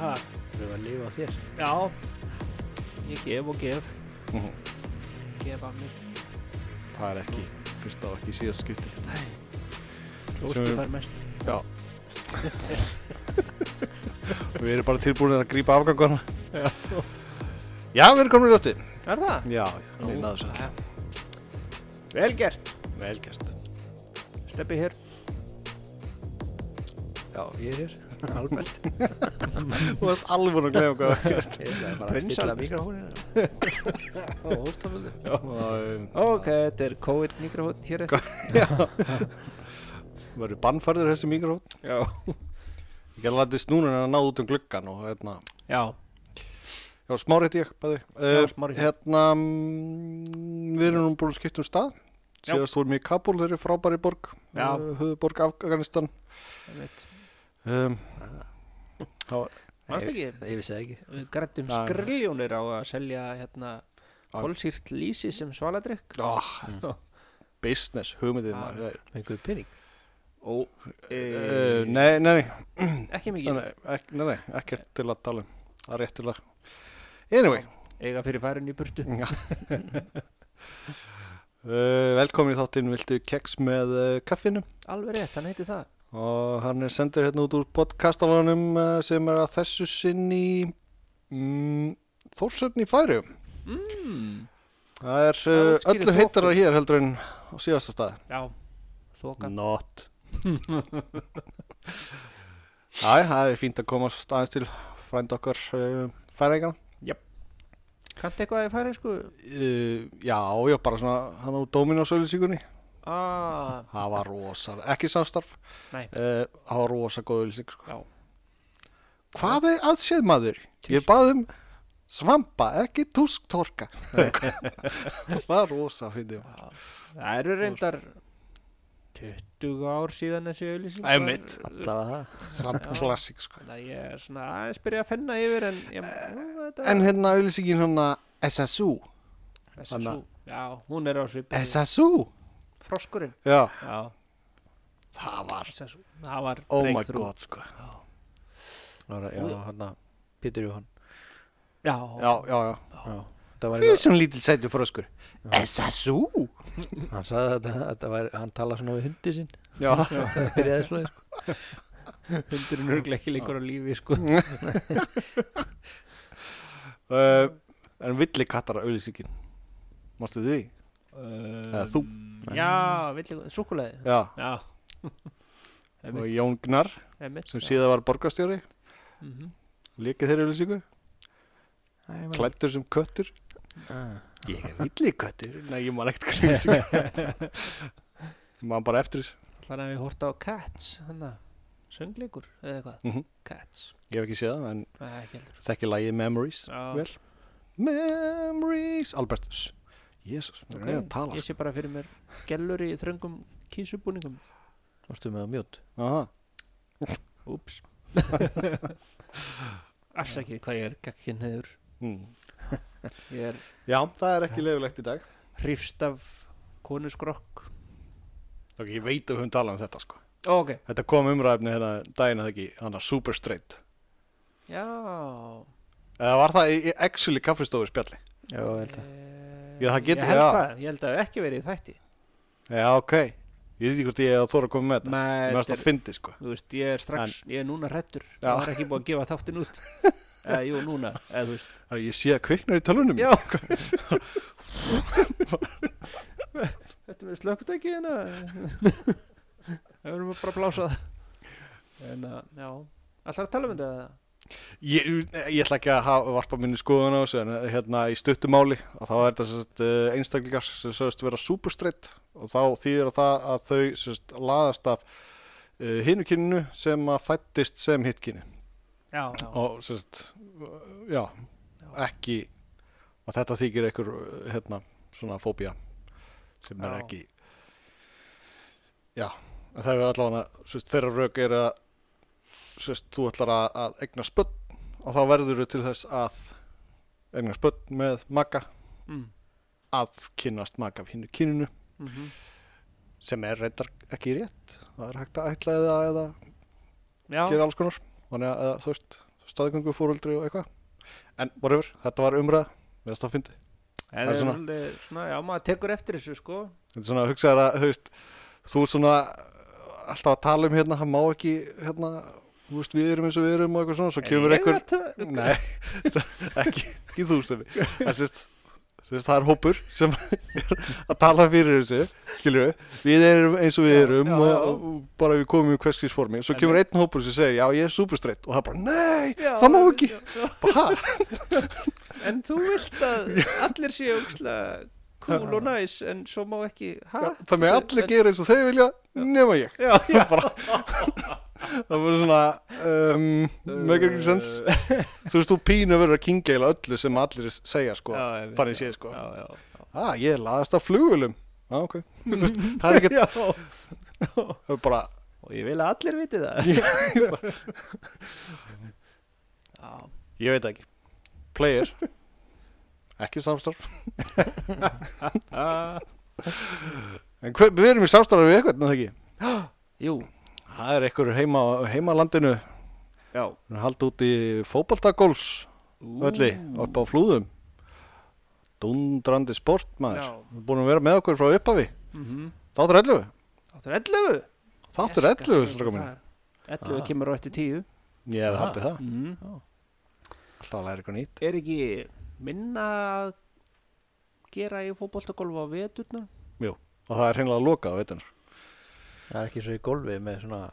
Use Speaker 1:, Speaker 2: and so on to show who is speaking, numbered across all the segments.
Speaker 1: Ha,
Speaker 2: Við erum að lifa á þér.
Speaker 1: já, ég gef og gef, gef af mér.
Speaker 3: Það er ekki fyrst á ekki síðast skipti.
Speaker 1: Lóstu
Speaker 3: Sem-
Speaker 1: fær mest.
Speaker 3: Já. við erum bara tilbúinir að grípa afgangana.
Speaker 1: Já.
Speaker 3: Já, við erum komin í ljóttið.
Speaker 1: Er það?
Speaker 3: Já, við náðum svo.
Speaker 1: Vel gert.
Speaker 3: Vel gert.
Speaker 1: Steppi hér.
Speaker 2: Já, ég er hér. Albert.
Speaker 3: Þú varst alveg að glemja hvað það gert.
Speaker 2: Ég er bara að
Speaker 1: Prinsal.
Speaker 2: stilla mikrofónina.
Speaker 1: hérna.
Speaker 2: Ó, hóstaföldu.
Speaker 1: Ok, þetta er COVID mikrofón hér eftir.
Speaker 3: eh, Verður bannfærður þessi mikrofón.
Speaker 1: Já.
Speaker 3: Ég gæti að landa í snúnun en að náðu út um gluggan og hérna.
Speaker 1: Já,
Speaker 3: Já, smári heiti ég, bæði.
Speaker 1: Já, Smári.
Speaker 3: Hérna, mm, við erum nú búin að skipta um stað.
Speaker 1: Já.
Speaker 3: Síðast vorum við í Kabul, þeirri frábæri borg,
Speaker 1: Já.
Speaker 3: eh, höfuðborg Afganistan.
Speaker 1: ég veit.
Speaker 3: Um, það var
Speaker 1: Mást ekki?
Speaker 2: Ég vissi það ekki.
Speaker 1: Við grættum
Speaker 3: Já.
Speaker 1: skriljónir á að selja hérna
Speaker 3: Já.
Speaker 1: kolsýrt lýsi sem svaladrykk.
Speaker 3: oh,
Speaker 1: Já.
Speaker 3: business, hugmyndið
Speaker 1: Já.
Speaker 3: maður. það er-
Speaker 2: Fenguðu pening.
Speaker 1: Ó,
Speaker 3: Eh,
Speaker 1: e,
Speaker 3: Nei, nei, nei,
Speaker 1: ekki
Speaker 3: nei,
Speaker 1: mikið.
Speaker 3: nei, ek- nei, nei, ekkert til að tala um. Það er rétt til að. Anyway,
Speaker 1: Eiga fyrir færin í burtu.
Speaker 3: Já. uh, velkomin í þáttinn Viltu keks með uh, kaffinu
Speaker 1: Alveg rétt, hann heiti það.
Speaker 3: og hann er sendur hérna út úr podcastalanum uh, sem er að þessu sinni mm, Þórsöfn í færi Hmm.
Speaker 1: Mm.
Speaker 3: Það er
Speaker 1: Það
Speaker 3: uh,
Speaker 1: útskýrir
Speaker 3: öllu heitara hér heldur en á síðasta stað
Speaker 1: Já, þoka.
Speaker 3: Not Æ, það er fínt að komast aðeins til frænd okkar uh, færingan
Speaker 1: Kanntu eitthvað í færin sko?
Speaker 3: uh, Já, já, bara svona hann á Dominos-auðlýsingunni
Speaker 1: Ah,
Speaker 3: Það var rosal, ekki samstarf
Speaker 1: nei,
Speaker 3: Eh, Það var rosa góð auðlýsing sko.
Speaker 1: já.
Speaker 3: Hvað er að séð maður? Ég bað um svampa, ekki tusktorka Það var rosa fyndið maður.
Speaker 1: Það eru reyndar 20 ár síðan þessi auðlýsing. var-
Speaker 3: Einmitt.
Speaker 2: Allavega það.
Speaker 3: Samt
Speaker 1: Já.
Speaker 3: klassik sko.
Speaker 1: Þannig að ég er svona aðeins byrja að finna yfir en ég, nú, þetta
Speaker 3: Eh, En hérna auðlýsingin hana SSU
Speaker 1: var
Speaker 3: hana-
Speaker 1: SSU. Já, hún er á svipinu.
Speaker 3: SSU?
Speaker 1: Froskurinn.
Speaker 3: Já,
Speaker 1: Já,
Speaker 3: það var
Speaker 1: SSU. Það var
Speaker 3: Oh my
Speaker 1: breakthrough.
Speaker 3: god sko.
Speaker 2: Það var- Já, hann að Pétur Jóhann.
Speaker 1: Já,
Speaker 3: Já, já, já
Speaker 2: Já. Það var hérna,
Speaker 3: Hvað er
Speaker 2: eitthvað,
Speaker 3: svona lítil sættu fröskur? SSU?
Speaker 2: hann sagði þetta, þetta var, hann talaði svona við hundi sinn.
Speaker 3: Já,
Speaker 2: Það byrjaði svona, sko.
Speaker 1: hundurinn er ekki lengur á lífi sko.
Speaker 3: uh, en villi kattara auðlýsingin Mástu því? Eða þú?
Speaker 1: Já, villi, súkulæði
Speaker 3: Já,
Speaker 1: Já,
Speaker 3: og Jón Gnar
Speaker 1: emitt
Speaker 3: sem síðan var borgarstjóri
Speaker 1: mm -hmm.
Speaker 3: Líkið þeirri auðlýsingu Klættur sem köttur
Speaker 2: Ah.
Speaker 3: Ég er villi köttur Nei, ég man ekkert hvað auðlýsingu Man bara eftir þessu
Speaker 1: Þannig að við hórt á Cats hana. Söngleikur eða eitthvað
Speaker 3: Mhm.
Speaker 1: Cats,
Speaker 3: Ég hef ekki séð það, en
Speaker 1: Nei, ekki heldur
Speaker 3: þekki lagið Memories
Speaker 1: Já.
Speaker 3: Vel Memories Albertus Jésus, það er að tala
Speaker 1: Ég sé bara fyrir mér gellur í þröngum kísubúningum
Speaker 2: Varstu með á mjót?
Speaker 3: Aha.
Speaker 1: Úps Afsakið hvað ég er gagkinn hefur
Speaker 3: Mm.
Speaker 1: Ég er
Speaker 3: Já, það er ekki leifilegt í dag
Speaker 1: hrifst af konusgrokk
Speaker 3: Ok, ég veit að við höfum talað um þetta sko
Speaker 1: Ó, Ok,
Speaker 3: Þetta kom umræfni hérna daginn að það ekki Hanna super straight
Speaker 1: já
Speaker 3: Eða var það í, í actually kaffistofu spjalli
Speaker 2: Já, ég held að.
Speaker 1: Eh,
Speaker 3: Já, það getur-
Speaker 1: ég held
Speaker 3: já.
Speaker 1: það, ég held að það hafi ekki verið í þætti
Speaker 3: Já, ok Ég veit ekki hvort ég hef að þóra að koma með þetta
Speaker 1: Nei,
Speaker 3: Mér varst
Speaker 1: þetta
Speaker 3: að
Speaker 1: er-
Speaker 3: fyndi sko
Speaker 1: þú veist, ég er strax, ég er núna hrettur
Speaker 3: Já.
Speaker 1: það er ekki búið að gefa þáttin út eða jú, núna, eða þú veist
Speaker 3: Það er ég sé að kviknar í tölunum
Speaker 1: Já. Þetta verður slökkt ekki en að það verðum bara að blása það en að, já Alltaf að tala um þetta eða?
Speaker 3: Ég, ég ætla ekki að hafa, varpa minni skoðun á þessu en hérna í stuttumáli að þá er þetta sem sagt, eh, einstaklingar sem sögust vera superstreitt og þá þýðir það að þau sem sagt, laðast af uh, hinukyninu sem að fættist sem hitkyni
Speaker 1: Já, já,
Speaker 3: og sem sagt, eh, já, ekki og þetta þykir einhver eh, hérna, svona fóbía sem er
Speaker 1: Já.
Speaker 3: ekki já, en það er allavega sem sagt, þeirra rauk er að sem sagt, þú ætlar að, að egna spöld og þá verður þau til þess að egna spöld með maka
Speaker 1: mm,
Speaker 3: að kynnast maka af hinnu kyninu
Speaker 1: mm
Speaker 3: sem er reyndar ekki rétt það er hægt að ætla eða, eða
Speaker 1: já,
Speaker 3: gera alls konar þannig að eða, þú veist staðgöngu fóröldri og eitthvað en whatever, þetta var umræða með þess að fyndi
Speaker 1: En
Speaker 3: Það er
Speaker 1: það er
Speaker 3: svona-
Speaker 1: svolítið svona, já, maður tekur eftir þessu, sko.
Speaker 3: þetta er svona að hugsa þér að þú veist þú ert svona alltaf að tala um hérna hann má ekki hérna þú veist við erum eins og við erum og eitthvað svona svo kemur
Speaker 1: En ég
Speaker 3: einhver
Speaker 1: veit það-
Speaker 3: nei, ekki, ekki þú stefi en sérst Sérst, það er hópur sem er að tala fyrir þessu skilju, við erum eins og við
Speaker 1: Já,
Speaker 3: erum
Speaker 1: já,
Speaker 3: og,
Speaker 1: já.
Speaker 3: og bara við komum í hverskis formi svo
Speaker 1: En-
Speaker 3: kemur einn hópur sem segir, já ég er superstreitt og það er bara, nei,
Speaker 1: Já,
Speaker 3: það má ekki
Speaker 1: já, já.
Speaker 3: bara, "Ha?"
Speaker 1: En þú vilt að allir séu ógislega cool og næs, en svo má ekki, hæ?
Speaker 3: Já, það með allir gera eins og þeir vilja nema ég
Speaker 1: Já, já.
Speaker 3: bara, það var svona um, make any sense Eh, þú veist þú pínu verður að kingeila öllu sem allir segja sko
Speaker 1: Já, ég veit
Speaker 3: þannig
Speaker 1: það.
Speaker 3: séð sko
Speaker 1: Já, já, já.
Speaker 3: ah, ég er laðast af flugvölum ah, okay. Þú veist, það er ekkert
Speaker 1: Já,
Speaker 3: það er bara
Speaker 1: og ég vil að allir viti það. Já,
Speaker 3: ég veit það ekki player ekki samstarf
Speaker 1: Ah,
Speaker 3: en hver, við erum í samstarf við eitthvað en það ekki
Speaker 1: jú,
Speaker 3: það er eitthvað heima heimalandinu
Speaker 1: já.
Speaker 3: haldi út í fótbaltagóls öllu upp á flúðum dundrandi sportmaður
Speaker 1: Já.
Speaker 3: við erum búin að vera með okkur frá upphafi
Speaker 1: Mhm.
Speaker 3: þáttur 11
Speaker 1: Þáttur 11.
Speaker 3: þáttur 11 strákar mínir. Ah.
Speaker 1: 11 kemur á eftir 10.
Speaker 3: ég hefði haldið það
Speaker 1: Mhm.
Speaker 3: alltaf að læra eitthvað nýtt
Speaker 1: er ekki minna að gera í fótboltagolf á veturna
Speaker 3: Jú. og það er hreinlega að loka á veitunar
Speaker 2: Það er ekki svo í golfi með svona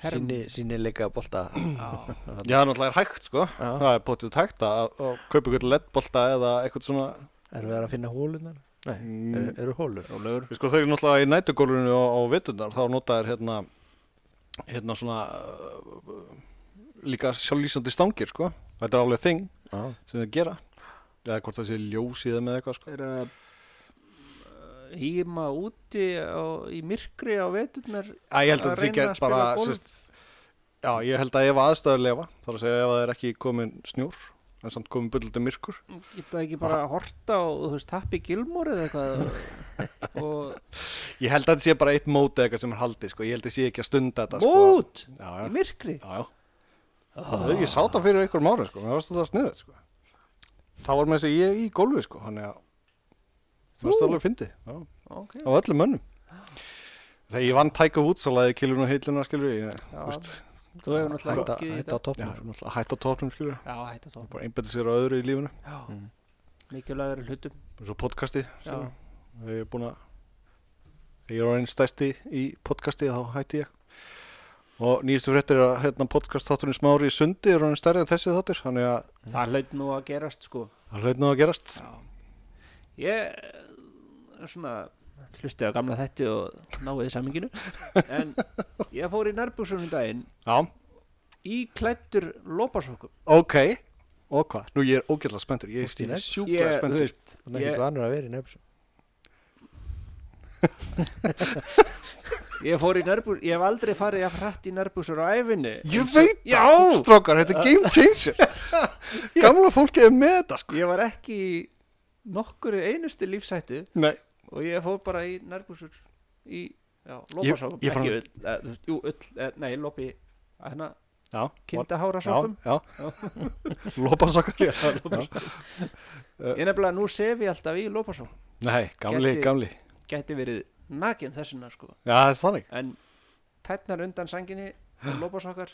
Speaker 1: Herm.
Speaker 2: síni, sínileika bolta
Speaker 1: já,
Speaker 3: já það er náttúrulega hægt sko
Speaker 2: Já.
Speaker 3: það er potið hægt að, að kaupa eitthvað leddbolta eða eitthvað svona
Speaker 2: Er við að finna hólunar? Nei,
Speaker 3: Mm.
Speaker 2: eru, eru hólur? Hólur
Speaker 3: Við sko þau eru náttúrulega í nætugólfinu á, á veitunar þá notaðir hérna hérna svona uh, líka sjálflýsandi stangir sko þetta er alveg þing
Speaker 2: Já,
Speaker 3: sem þau gera eða hvort það sé ljósið með eitthvað sko
Speaker 1: er að uh, hýma úti á, í myrkri á veturnar
Speaker 3: Æ, ég held að það sé ekki bara sérst, Já, ég held að ef aðstæður lefa þarf að segja ef það er ekki komin snjór en samt komin bullandi myrkur
Speaker 1: geta ekki bara að horta á þú veist, Happy Gilmore eða eitthvað og
Speaker 3: Ég held að þetta sé bara eitt mót eða eitthvað sem er haldið sko. ég held að sé ekki að stunda þetta sko.
Speaker 1: mót
Speaker 3: Já,
Speaker 1: í
Speaker 3: já,
Speaker 1: myrkri
Speaker 3: já, já. Oh. Ég sá það fyrir einhverjum ára sko. mér varst þetta sniðið sko. þá var með þess að segja ég í gólfi sko. þannig að
Speaker 1: Þú?
Speaker 3: mér varst alveg fyndið já,
Speaker 1: ok,
Speaker 3: á öllum mönnum Þegar ég vann tæka út svo laði kilun og heilina skilur ég,
Speaker 1: já,
Speaker 3: veist.
Speaker 1: þú hefur náttúrulega
Speaker 2: hætta,
Speaker 1: ekki
Speaker 2: hætta á
Speaker 3: já,
Speaker 2: toppnum sko.
Speaker 3: náttúrulega hætt á topnum skilur
Speaker 1: já, hætta tók
Speaker 3: bara einbæti sér á öðru í lífuna
Speaker 1: já, mikilvægur hlutum
Speaker 3: eins og podcasti
Speaker 1: já,
Speaker 3: skilurðu. Þegar ég er búin að þegar ég er orðin stæsti í podcasti þá hætti ég og nýjastu fréttir er að hérna, podcast þátturinn smári í sundi er orðin stærri en þessi þáttur þannig að
Speaker 1: það hlaut nú að gerast sko
Speaker 3: það hlaut nú að gerast
Speaker 1: Já. Ég eh, svona hlustið á gamla þetti og náiði saminginu en ég fór í nærbúksunum daginn
Speaker 3: Já,
Speaker 1: í klættur lópasokkum
Speaker 3: ok og hvað, nú ég er ógætla spenntur ég
Speaker 2: Fórstu í
Speaker 3: er
Speaker 2: nær?
Speaker 3: sjúkla
Speaker 1: Ég, þú
Speaker 3: spenntur
Speaker 1: veist,
Speaker 2: Þannig að
Speaker 1: ég,
Speaker 2: ekki vanur að vera í sko. nefnsum
Speaker 1: ég fór í nærbúksunum ég hef aldrei farið að hrætt í nærbúksunum á æfinni
Speaker 3: Ég veit
Speaker 1: Já.
Speaker 3: það, strókar, þetta er game changer Gamla fólkið er með þetta sko.
Speaker 1: Ég var ekki í nokkuru einustu lífsættu
Speaker 3: Nei,
Speaker 1: og ég fór bara í nærbúksun í já,
Speaker 3: Ég-
Speaker 1: lópasokkum
Speaker 3: ég fór-
Speaker 1: ekki öll, eh, þú veist, jú, öll eh, nei, lópi, hérna,
Speaker 3: já
Speaker 1: kindahára
Speaker 3: Já,
Speaker 1: sokkum
Speaker 3: já Lópasokkar
Speaker 1: Ég nefnilega nú sef ég alltaf í lópasokkum
Speaker 3: Nei, gamli,
Speaker 1: Gæti-
Speaker 3: gamli
Speaker 1: gæti verið nakin þessuna sko
Speaker 3: Já, það er þannig
Speaker 1: en tætnar undan sanginni og lópasokkar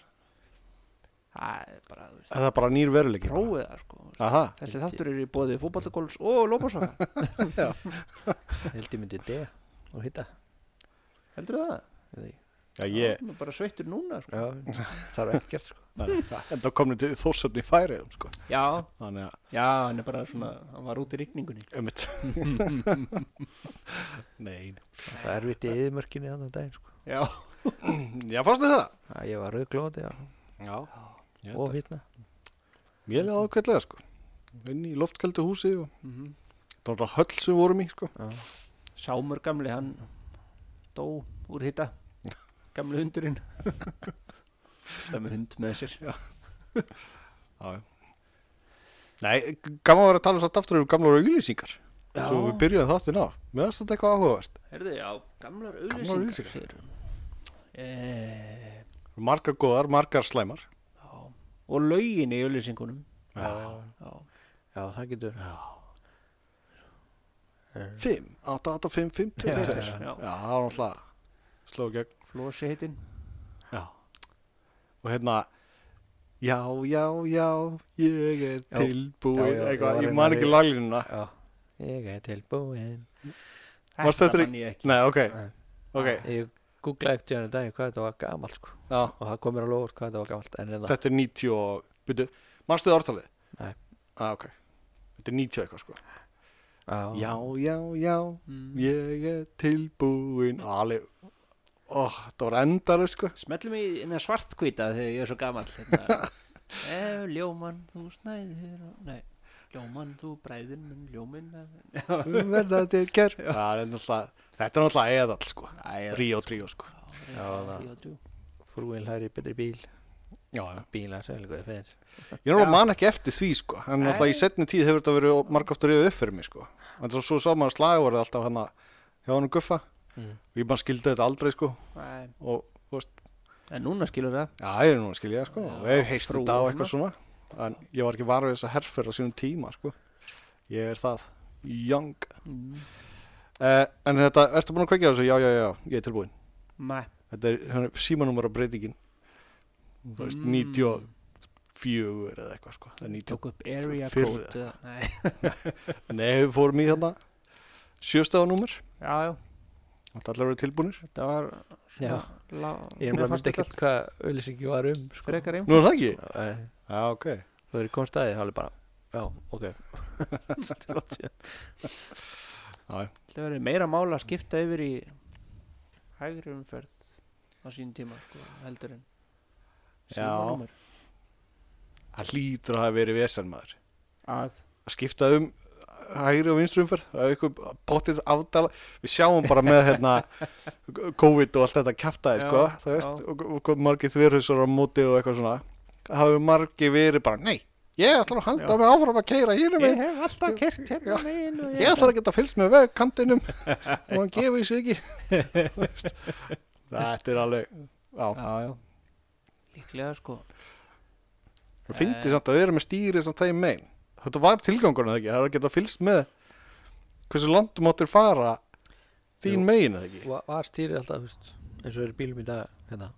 Speaker 1: það er bara, þú veist,
Speaker 3: Það er bara nýr veruleiki bara.
Speaker 1: prófið það sko
Speaker 3: Aha,
Speaker 1: þessi þáttur eru í bóði fótboltagóls og lópasokkar
Speaker 2: Held ég myndi D og hitta
Speaker 1: heldur það?
Speaker 3: já ég
Speaker 1: Nú bara sveittur núna sko.
Speaker 2: Já, það er ekkert sko
Speaker 3: Enda komnir til þórsöfni í færiðum sko.
Speaker 1: já,
Speaker 3: Þannig að,
Speaker 1: já, hann er bara svona hann var út í rigningunni
Speaker 3: ömmit Nei
Speaker 2: Það er erfitt í eðimörkinni þannig að daginn sko
Speaker 1: já,
Speaker 3: Já, fannstu það?
Speaker 2: Æ, Ég var rauðglóði og
Speaker 3: Já Ég
Speaker 2: og
Speaker 3: held að-
Speaker 2: hitna
Speaker 3: Mér leði ákveðlega sko Inn í loftkældu húsi og
Speaker 1: Mhm.
Speaker 3: Það var alltaf höll sem við vorum í sko
Speaker 1: sámur gamli hann dó úr hitta gamli hundurinn það með hund með sér
Speaker 3: Já, já Nei, g- gaman að vera að tala satt aftur um gamlar auglýsingar
Speaker 1: Já.
Speaker 3: Svo við byrjuðum þáttinn á Mér varst þetta eitthvað áhugavert
Speaker 1: Herðu, já, gamlar
Speaker 3: auglýsingar.
Speaker 1: auglýsingar segirðu. Eh,
Speaker 3: Margar góðar, margar slæmar
Speaker 1: já. og lögin í auðlýsingunum
Speaker 2: já,
Speaker 1: já,
Speaker 2: já, það getur Er-
Speaker 3: 5, 8, 8, 5, 5, 2,
Speaker 2: Já,
Speaker 3: 2
Speaker 2: já,
Speaker 3: Já, það
Speaker 1: já.
Speaker 3: var náttúrulega sló í gegn
Speaker 1: flosi heitin
Speaker 3: Já Og hérna Já, já, já, ég er
Speaker 2: Já. Já,
Speaker 3: tilbúin
Speaker 2: já, ég
Speaker 3: eitthvað, ég
Speaker 2: var hérna
Speaker 3: man
Speaker 2: að
Speaker 3: ekki
Speaker 2: ri-
Speaker 3: laglínuna
Speaker 2: já, ég er tilbúin
Speaker 3: Varstu
Speaker 1: Þetta
Speaker 3: eftir í-
Speaker 1: man ég ekki
Speaker 3: Nei, ok,
Speaker 2: Nei.
Speaker 3: ok,
Speaker 2: ég googlaði ekkert í hann dag hvað þetta var gamalt sko
Speaker 3: já
Speaker 2: og það kom mér alveg úr hvað þetta var gamalt en hérna- þetta,
Speaker 3: Þetta er 90 og, byrju, manstu þið orðtalið?
Speaker 2: Nei.
Speaker 3: ah, ok, þetta er 90 eitthvað sko Já,
Speaker 2: já,
Speaker 3: já, já,
Speaker 1: mm.
Speaker 3: ég er tilbúin Alveg, ó, þetta var endaleg sko
Speaker 1: Smellum í neða svartkvita þegar ég er svo gamall hérna. Ef ljóman þú snæðir og- Nei, ljóman þú bræðir minn ljómin með
Speaker 3: Um verða þér kjör Það er náttúrulega, þetta er náttúrulega eðall sko
Speaker 1: Æ,
Speaker 3: Ríó tríó sko
Speaker 1: Já,
Speaker 2: það.
Speaker 1: Ríó drjú
Speaker 2: frúin hær í betri bíl
Speaker 3: Já, já
Speaker 2: bílar sem er líka fyrir
Speaker 3: Ég náttúrulega
Speaker 1: Já.
Speaker 3: man ekki eftir því sko En
Speaker 1: Nei.
Speaker 3: náttúrulega í setni tíð hefur þetta verið margóft að ríða upp fyrir mig sko En svo, svo sá maður slagvorið alltaf hann að Hjá hann guffa
Speaker 2: Mm.
Speaker 3: Og ég bara skildi þetta aldrei sko
Speaker 1: Æ,
Speaker 3: Og
Speaker 1: En núna skilur það
Speaker 3: já, ég er nú að skilja sko Og ég hef heyrt
Speaker 1: frú
Speaker 3: þetta á
Speaker 1: og
Speaker 3: eitthvað svona En ég var ekki varfið þess að herfur á sínum tíma sko Ég er það Young
Speaker 1: mm.
Speaker 3: eh, En þetta, ertu búin að kveikja á þessu? Já, já, já, ég er tilbúin
Speaker 1: Mæ
Speaker 3: Þetta er símanúmara breytingin Þú veist,
Speaker 1: Mm.
Speaker 3: 94 eða eitthvað sko Það er 90
Speaker 1: Tók upp area
Speaker 3: fyrr-
Speaker 1: code eða- Nei,
Speaker 3: Nei, við fórum í hérna sjöstafanúmer,
Speaker 1: já, já,
Speaker 3: þetta allir verið tilbúinir
Speaker 1: þetta var svona
Speaker 2: Já.
Speaker 1: lá,
Speaker 2: ég er
Speaker 1: mér
Speaker 2: bara
Speaker 1: fannst þetta
Speaker 2: myndi ekkert hvað auðlýsingi var um
Speaker 1: allt
Speaker 2: sko.
Speaker 1: frekar
Speaker 3: Nú
Speaker 1: einhvern
Speaker 3: er það ekki?
Speaker 2: Nei.
Speaker 3: Já, ok
Speaker 2: þú eru komst að því þá er ég bara já, ok Þetta er langt síðan.
Speaker 1: Það verið meira mála að skipta yfir í hægri umferð á sín tíma sko, heldur en
Speaker 3: Já.
Speaker 1: símanúmer.
Speaker 3: Það hlýtur að hafa verið vesen maður
Speaker 1: að
Speaker 3: að skipta um hægri og vinstri umferð það er eitthvað potið afdala við sjáum bara með hérna COVID og allt þetta kjaftaði,
Speaker 1: Já,
Speaker 3: sko það veist,
Speaker 1: já.
Speaker 3: og, og hvað margir þverjusar á móti og eitthvað svona það hafi margir verið bara, nei, ég ætla að halda
Speaker 1: Já.
Speaker 3: mig áfram að keira hínum
Speaker 1: ég
Speaker 3: minn
Speaker 1: hef alltaf kert hérna
Speaker 3: Já.
Speaker 1: megin og
Speaker 3: ég ætla að geta fylgst með vegkantinum og hann gefið sér ekki Þú veist. þetta er alveg já,
Speaker 1: Já, já, líklega sko
Speaker 3: Það finnir samt að vera með stýri samt það í megin. Þetta var tilgangurinn eða ekki, það er að geta fylgst með hversu landum áttir fara þín
Speaker 2: Jú.
Speaker 3: megin eða ekki.
Speaker 2: Va- var stýrið alltaf þú veist, eins og er í bílum í dag hérna.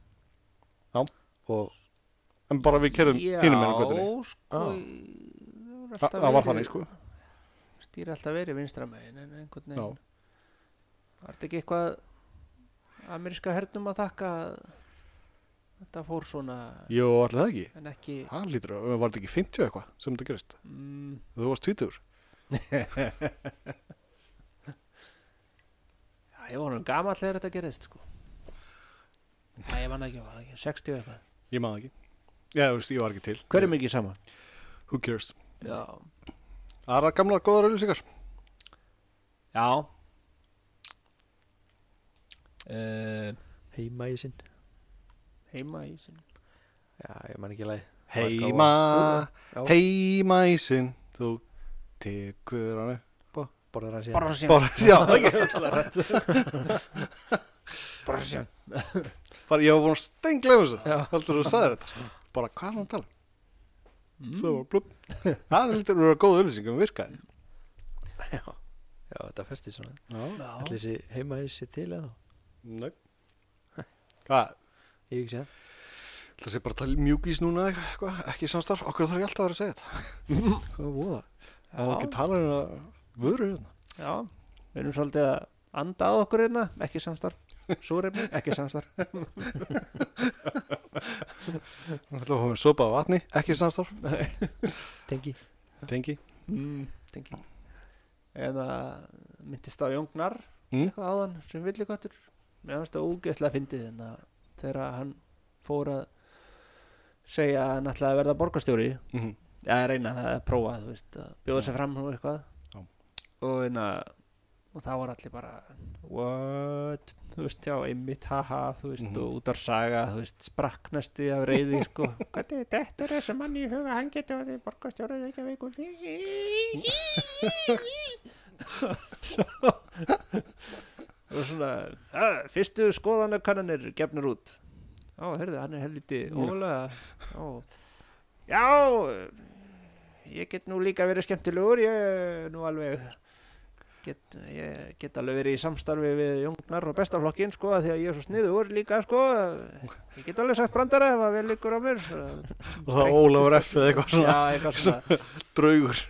Speaker 3: Já.
Speaker 2: og
Speaker 3: En bara við kerðum
Speaker 1: Já,
Speaker 3: hinum meginn á göttunni.
Speaker 1: sko
Speaker 2: Já.
Speaker 1: í-
Speaker 3: Þa, það var þannig sko.
Speaker 1: Stýri alltaf verið vinstra megin en einhvern
Speaker 3: Já.
Speaker 1: veginn Var þetta ekki eitthvað ameríska hernum að þakka að þetta fór svona
Speaker 3: Jú, allir það ekki.
Speaker 1: en ekki
Speaker 3: Það lítur að, var þetta ekki 50 eitthvað sem þetta gerist?
Speaker 1: mm,
Speaker 3: Þú varst 20
Speaker 1: já, ég var hann gamall þegar þetta gerðist sko Nei, ég vann ekki, ég var ekki 60 eða eitthvað
Speaker 3: Ég maður ekki. Já, þú veist, ég var ekki til.
Speaker 1: Hverjum ekki sama?
Speaker 3: Who cares?
Speaker 1: Já,
Speaker 3: Aðra gamlar góðar auðlýsingar.
Speaker 1: já. Uh,
Speaker 2: heima í sinn
Speaker 1: Heima í sinn
Speaker 2: já, ég man ekki læg
Speaker 3: Heima,
Speaker 2: Já.
Speaker 3: heima í sinn, þú tekur hann upp.
Speaker 2: borðar hann síðan
Speaker 1: Borsjan,
Speaker 3: Bara, já, ekki, það er rætt.
Speaker 1: Borsjan
Speaker 3: Bara, ég var búin að stengla þessu.
Speaker 2: já,
Speaker 3: heldur þú að sagði þetta sko. bara hvað er hann að tala
Speaker 1: Mm.
Speaker 3: mm. blub, það er lítið að vera góð auðlýsingum virkaði
Speaker 2: já, þetta festi svona
Speaker 3: já,
Speaker 1: Já.
Speaker 2: allir þessi heima í sér til eða
Speaker 3: nei hvað,
Speaker 2: ég ekki séð
Speaker 3: ætla sér bara að tala mjúkís núna eða eitthvað, ekki samstarf, okkur þarf ég alltaf að vera að segja þetta hvað er voða, það var ekki
Speaker 1: Já,
Speaker 3: tala um að vöru hérna
Speaker 1: já, við erum svolítið að anda að okkur hérna, ekki samstarf Súrefni, ekki samstarf
Speaker 3: Það ætla að fá mér sopa af vatni, ekki samstarf
Speaker 2: tengi
Speaker 3: tengi,
Speaker 1: mm. tengi. Eða myndist á Jóngnar
Speaker 3: Mm.
Speaker 1: eitthvað áðan sem villiköttur Mér fannst það úgeðslega fyndið en að þegar hann fór að segja að hann ætlaði að verða borgarstjóri
Speaker 3: Mhm.
Speaker 1: Já, að reyna það að prófa, þú veist, að bjóða sér fram og eitthvað
Speaker 3: Já.
Speaker 1: og en og það var allir bara what, þú veist, já, einmitt, haha þú veist,
Speaker 3: Mhm.
Speaker 1: og út af saga, þú veist sprakknastu af reyði, sko hvernig dettur þessu manni í huga, hann getur orðið borgarstjóra Reykjavíkur Svo- og svona "Ah, fyrstu skoðanakannanir gefnir út á, heyrðu, hann er helviti ólega, á Já, ég get nú líka verið skemmtilegur, ég er nú alveg get, ég get alveg verið í samstarfi við jungnar og bestaflokkin sko, af því að ég er svo sniður líka sko, ég get alveg sagt brandara ef að vel ykkur á mér
Speaker 3: og það Ólafur F eða eitthvað svona
Speaker 1: Já, eitthvað svona
Speaker 3: draugur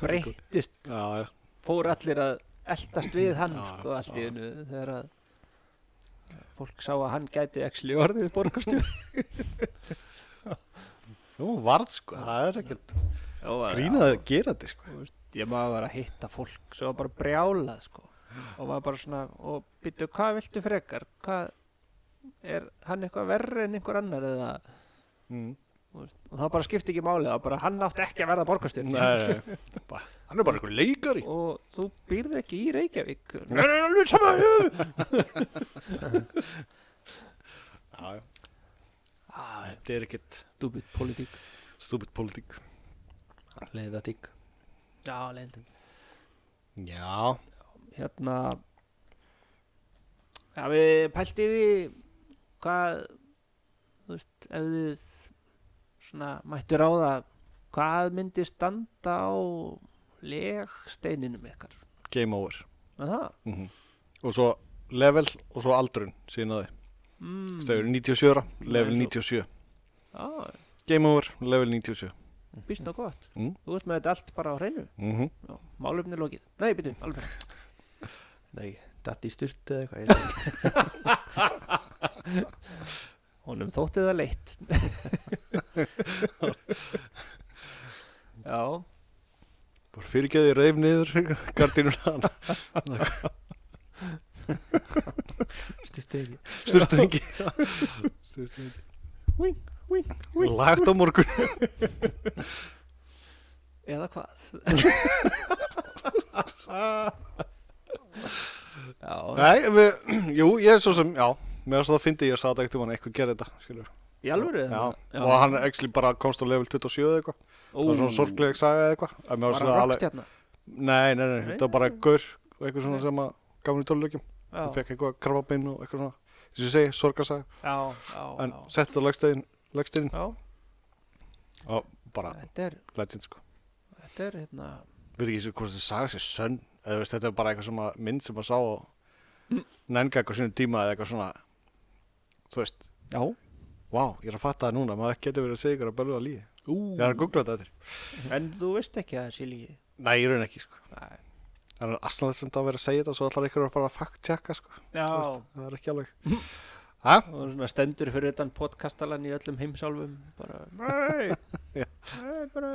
Speaker 1: breyttist
Speaker 3: já, já.
Speaker 1: fór allir að eldast við hann
Speaker 3: Já,
Speaker 1: sko allt í
Speaker 3: já.
Speaker 1: einu þegar að fólk sá að hann gæti actually orðið borgarstjóð
Speaker 3: Jú, varð sko, það er ekkert grínað að gera þetta sko
Speaker 1: ég maður var að hitta fólk sem var bara brjálað sko og maður bara svona og býttu hvað viltu frekar hvað er hann eitthvað verri en einhver annar eða
Speaker 3: mm.
Speaker 1: þú veist, og það bara skipti ekki máli það var bara hann átti ekki að verða borgarstjóð
Speaker 3: Nei, nei, nei. Bara- hann er bara einhver leikari
Speaker 1: og þú býrð ekki í Reykjavík Nei, nei, alveg sama já.
Speaker 3: já, já.
Speaker 1: ah,
Speaker 3: þetta er ekkert
Speaker 1: stúbid politík
Speaker 3: stúbit pólitík
Speaker 2: leiða tík
Speaker 1: já, leindin
Speaker 3: já,
Speaker 1: hérna já við pælti því hvað þú veist ef þið svona mættu ráða hvað myndi standa á legsteininum ykkar
Speaker 3: game over
Speaker 1: með það
Speaker 3: mm og svo level og svo aldrun síðan að þið,
Speaker 1: mm.
Speaker 3: það eru 97 ára, level
Speaker 1: Nei,
Speaker 3: 97
Speaker 1: já,
Speaker 3: game over, level 97
Speaker 1: býstna gott
Speaker 3: Mm.
Speaker 1: þú ert með þetta allt bara á hreinu
Speaker 3: mhm
Speaker 1: já, málumni lokið, nei byrju, alveg
Speaker 2: nei, datt í styrt eða eitthvað ég veit ekki.
Speaker 1: honum þótti það leitt já
Speaker 3: bara fyrirgeði reyf niður gardínuna
Speaker 2: styrt eða ekki
Speaker 3: styrstu ekki lagt á morgun
Speaker 1: eða hvað já,
Speaker 3: Nei, við, jú, ég er svo sem, já með þess að það fyndi ég að sagði ekkert um hann eitthvað gerði þetta, skilur
Speaker 1: í alvöru
Speaker 3: já. og hann actually bara komst á level 27 eða eitthvað það var svona sorgleg saga eða eitthvað En mér
Speaker 1: var
Speaker 3: fannst
Speaker 1: hann
Speaker 3: það alveg-
Speaker 1: rockstjarna
Speaker 3: nei, nei, nei,
Speaker 1: Nei.
Speaker 3: þetta var bara gaur og eitthvað svona
Speaker 1: Nei.
Speaker 3: sem að gaf hann í tölulegjum
Speaker 1: já,
Speaker 3: og fekk eitthvað krafabein og eitthvað svona þess að ég segi, sorgasaga
Speaker 1: já, já,
Speaker 3: en
Speaker 1: já.
Speaker 3: setti það legstein, legstein
Speaker 1: já
Speaker 3: og bara
Speaker 1: þetta er,
Speaker 3: legend sko
Speaker 1: þetta er hérna
Speaker 3: við ekki sem hvort þetta saga sér sönn eða þú veist, þetta er bara eitthvað sem að mynd sem að sá og
Speaker 1: Mm.
Speaker 3: nænga eitthvað sínum tíma eða eitthvað svona þú veist,
Speaker 1: já,
Speaker 3: vá, ég er að fatta það núna maður getur verið að segja ykkur að bölva líði ég er að googla þetta eftir
Speaker 1: en þú veist ekki að það sé líki
Speaker 3: nei, ég raun ekki, sko
Speaker 1: Nei.
Speaker 3: það er astanlega sem það verið að segja þetta svo allar ykkur að fara að fakt tjekka, sko
Speaker 1: já,
Speaker 3: Þú veist, það er ekki alveg ha?
Speaker 1: og svona stendur fyrir utan podkastalan í öllum heimsálfum bara, nei
Speaker 3: Já.
Speaker 1: nei, bara,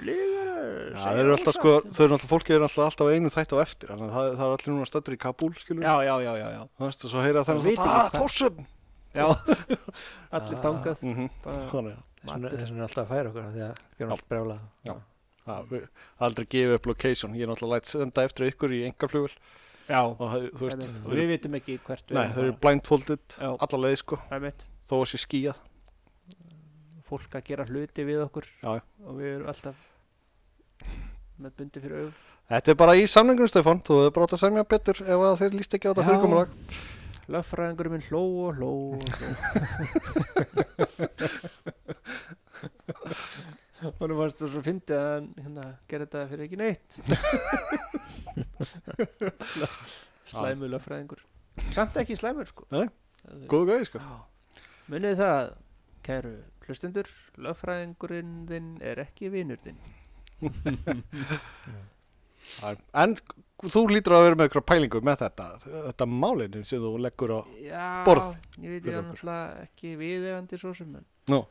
Speaker 1: lígar
Speaker 3: Já, þeir eru alltaf sko,
Speaker 1: um
Speaker 3: þau eru alltaf fólki eru alltaf alltaf á einu þætt á eftir, þannig að það, það er allir núna stættur í Kabul, skilur,
Speaker 1: já, já, já, já, já,
Speaker 3: þú veist, og svo heyra "Ah,
Speaker 1: Það
Speaker 3: þennan
Speaker 1: vita
Speaker 3: þátt, að,
Speaker 1: ekki hvað-
Speaker 3: fórsum,
Speaker 1: já. allir
Speaker 2: Ah.
Speaker 1: tangað
Speaker 3: mhm,
Speaker 1: bara,
Speaker 3: þannig að,
Speaker 2: Svona- þess vegna er alltaf að færa okkur af því að við erum alltaf brjála
Speaker 3: það við- það er aldrei gefið upp location, ég er alltaf lætt senda eftir ykkur í engarflugul
Speaker 1: já,
Speaker 3: og það, þú veist,
Speaker 1: einmitt.
Speaker 3: þau
Speaker 1: við
Speaker 3: eru-
Speaker 1: vitum ekki hvert við
Speaker 3: nei,
Speaker 1: erum
Speaker 3: þau eru
Speaker 1: bara.
Speaker 3: blindfolded
Speaker 1: Já.
Speaker 3: alla leið, sko,
Speaker 1: Það er mitt,
Speaker 3: þó að sé skíjað,
Speaker 1: fólk að gera hluti við okkur
Speaker 3: Já, já.
Speaker 1: og við erum alltaf með bundi fyrir augum
Speaker 3: þetta er bara í samningunum, Stefán, þú hefur bara átt að semja betur ef að þeir líst ekki á þetta
Speaker 1: Já.
Speaker 3: fyrirkomulag,
Speaker 1: Löffræðingur minn hló og hló og hló Honum varst þú svo fyndið að hann hérna, gera þetta fyrir ekki neitt Slæmu löffræðingur Samt ekki slæmur sko
Speaker 3: Nei,
Speaker 1: Það-
Speaker 3: góðu gæði, sko,
Speaker 1: Já. Munið það, kæru hlustendur, löffræðingurinn þinn er ekki vinur þinn
Speaker 3: Það er- en þú lítur að vera með ykkur pælingu með þetta, þetta málinu sem þú leggur á,
Speaker 1: Já,
Speaker 3: Borð
Speaker 1: ég
Speaker 3: fyrir
Speaker 1: veit ég
Speaker 3: okkur.
Speaker 1: náttúrulega ekki viðegandi svo sem en
Speaker 3: Nú.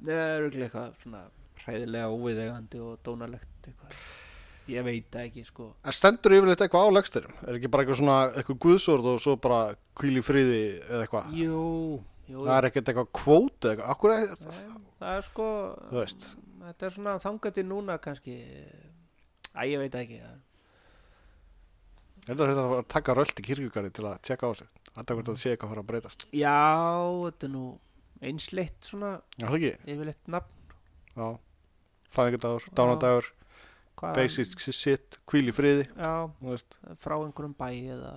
Speaker 1: Nei, það er örugglega eitthvað svona hræðilega óviðegandi og dónalegt eitthvað Ég veit það ekki sko
Speaker 3: Er stendur yfirleitt eitthvað á legsturum? Er ekki bara eitthvað svona, eitthvað guðsord og svo bara kvíl í friði eða eitthvað?
Speaker 1: Jú, jú,
Speaker 3: Það er ekkert eitthvað kvót eða eitthvað? Akkur er það?
Speaker 1: það er sko
Speaker 3: Þú veist.
Speaker 1: Þetta er svona þangandi núna kannski Æ, ég veit það ekki það-
Speaker 3: Er það þetta að taka rölt í kirkjugari til að tjekka á sig? Alltaf hvort það sé eitthvað að fara að breytast.
Speaker 1: Já, þetta er nú einsleitt svona
Speaker 3: Já, það ekki?
Speaker 1: yfirleitt nafn
Speaker 3: Já. Fæðingadagur, dánadagur,
Speaker 1: hvað-
Speaker 3: basic shit, kvíl í friði,
Speaker 1: Já,
Speaker 3: þú veist.
Speaker 1: frá einhverjum bæ eða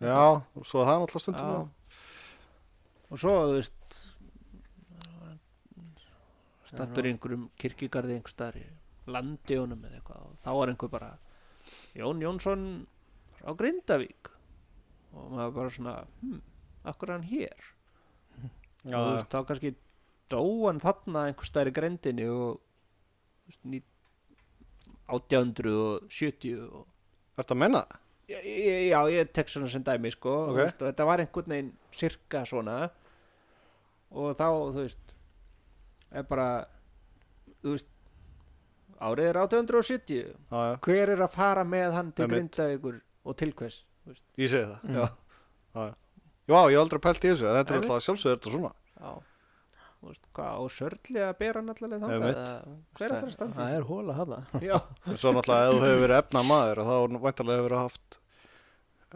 Speaker 3: Já, og svo er það alltaf stundum.
Speaker 1: Já. og svo þú veist stattur í einhverjum kirkigarði einhverstaðar í landi honum eða eitthvað og þá var einhver bara Jón Jónsson á Grindavík og maður bara svona hm, akkur er hann hér og þú veist, þá kannski dó hann þarna einhverstaðar í grendinni og þú veist, ný, 1870 og
Speaker 3: Ertu að menna?
Speaker 1: Já, ég- já, ég tek svona sem dæmi sko
Speaker 3: Ok.
Speaker 1: þú veist, og þetta var einhvern veginn sirka svona og þá, þú veist er bara þú veist árið er 1870
Speaker 3: Já, já,
Speaker 1: hver er að fara með hann til
Speaker 3: Einmitt. Mm.
Speaker 1: Grindavíkur og til hvers þú veist,
Speaker 3: ég segi það.
Speaker 1: já,
Speaker 3: Já, ég hef aldrei pælt í þessu, en þetta er
Speaker 1: Nei,
Speaker 3: alltaf sjálfsögur þetta svona.
Speaker 1: já þú veist, hvað á sörli að bera hann allavega
Speaker 3: Einmitt.
Speaker 1: þangað eða hver er það að standa
Speaker 2: Það er hóla hana
Speaker 1: í? já,
Speaker 3: En Svo náttúrulega ef þú hefur verið efna maður þá er nú væntanlega hefur verið haft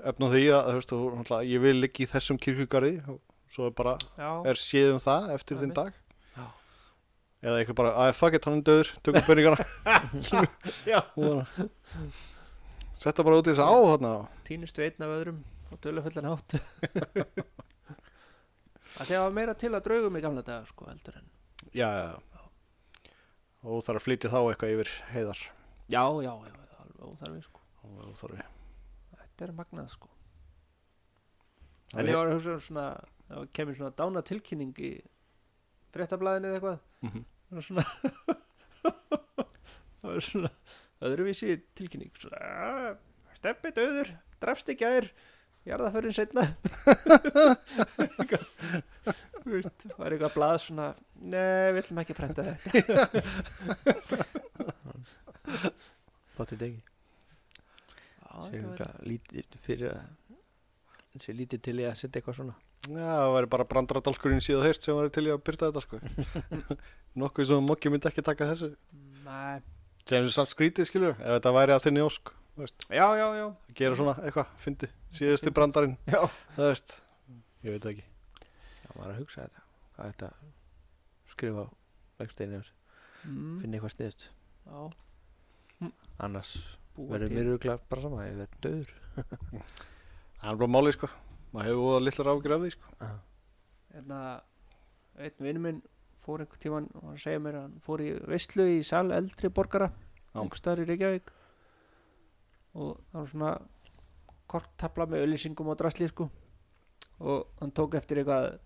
Speaker 3: efna því að þú veist, þú, náttúrulega, ég vil ligga í þessum kirkugarði og svo er bara
Speaker 1: já,
Speaker 3: er séð um það eftir þinn
Speaker 1: Einmitt.
Speaker 3: dag.
Speaker 1: Já.
Speaker 3: Eða eitthvað bara, að fuck it, hann er döður, tökum peningana.
Speaker 1: já.
Speaker 3: og bara- Setta bara út í þess að á þarna.
Speaker 1: týnist við einn af öðrum og tölufullan hátt að það var meira til að draugum í gamla daga sko heldur en
Speaker 3: Já, já, já. Og þú þarf að flytja þá eitthvað yfir heiðar.
Speaker 1: já, já, já, alveg óþarfi sko
Speaker 3: Og þú þarf
Speaker 1: þetta er magnað sko
Speaker 3: Já,
Speaker 1: en
Speaker 3: ég-
Speaker 1: ég var að hugsa um svona það kemur svona dána tilkynning í fréttablaðinni eða eitthvað
Speaker 3: Mhm.
Speaker 1: það var svona það var svona öðruvísi tilkynning svona steppi döður, drafst ekki aðeir jarðaförin setna veist, var eitthvað blað svona nei, við ætlum ekki að prenta þetta
Speaker 2: Báttið degi
Speaker 1: Já, þetta var-
Speaker 2: Sér lítið fyrir að Sér lítið til ég að setja eitthvað svona
Speaker 3: Já, það væri bara brandaradalkurinn síðan heyrt sem væri til í að byrta þetta sko Nokkuð sem Mokki myndi ekki taka þessu
Speaker 1: Nei.
Speaker 3: Sem er samt skrítið skilur, ef þetta væri að þinni ósk þú veist,
Speaker 1: já, já, já,
Speaker 3: að Gera svona eitthvað, fyndi, síðusti brandarinn
Speaker 1: já.
Speaker 3: Það veist, ég veit það ekki
Speaker 2: Já, maður er að hugsa þetta Hvað þetta skrifa á vegsteinu
Speaker 1: Mm,
Speaker 2: Finna eitthvað sniðut
Speaker 1: já.
Speaker 2: Annars
Speaker 1: Búa
Speaker 2: verður
Speaker 1: til.
Speaker 2: mér auðvitað bara sama Ég verð döður
Speaker 3: Það er bara málið sko, maður hefur óða litlar ágjur af því sko
Speaker 1: hérna, einn vinnu minn fór einhvern tíman og hann segja mér að hann fór í veistlu í sal eldri borgara
Speaker 3: Já.
Speaker 1: einhverstaðar í Reykjavík og það var svona korttafla með ölýsingum og drasli sko og hann tók eftir eitthvað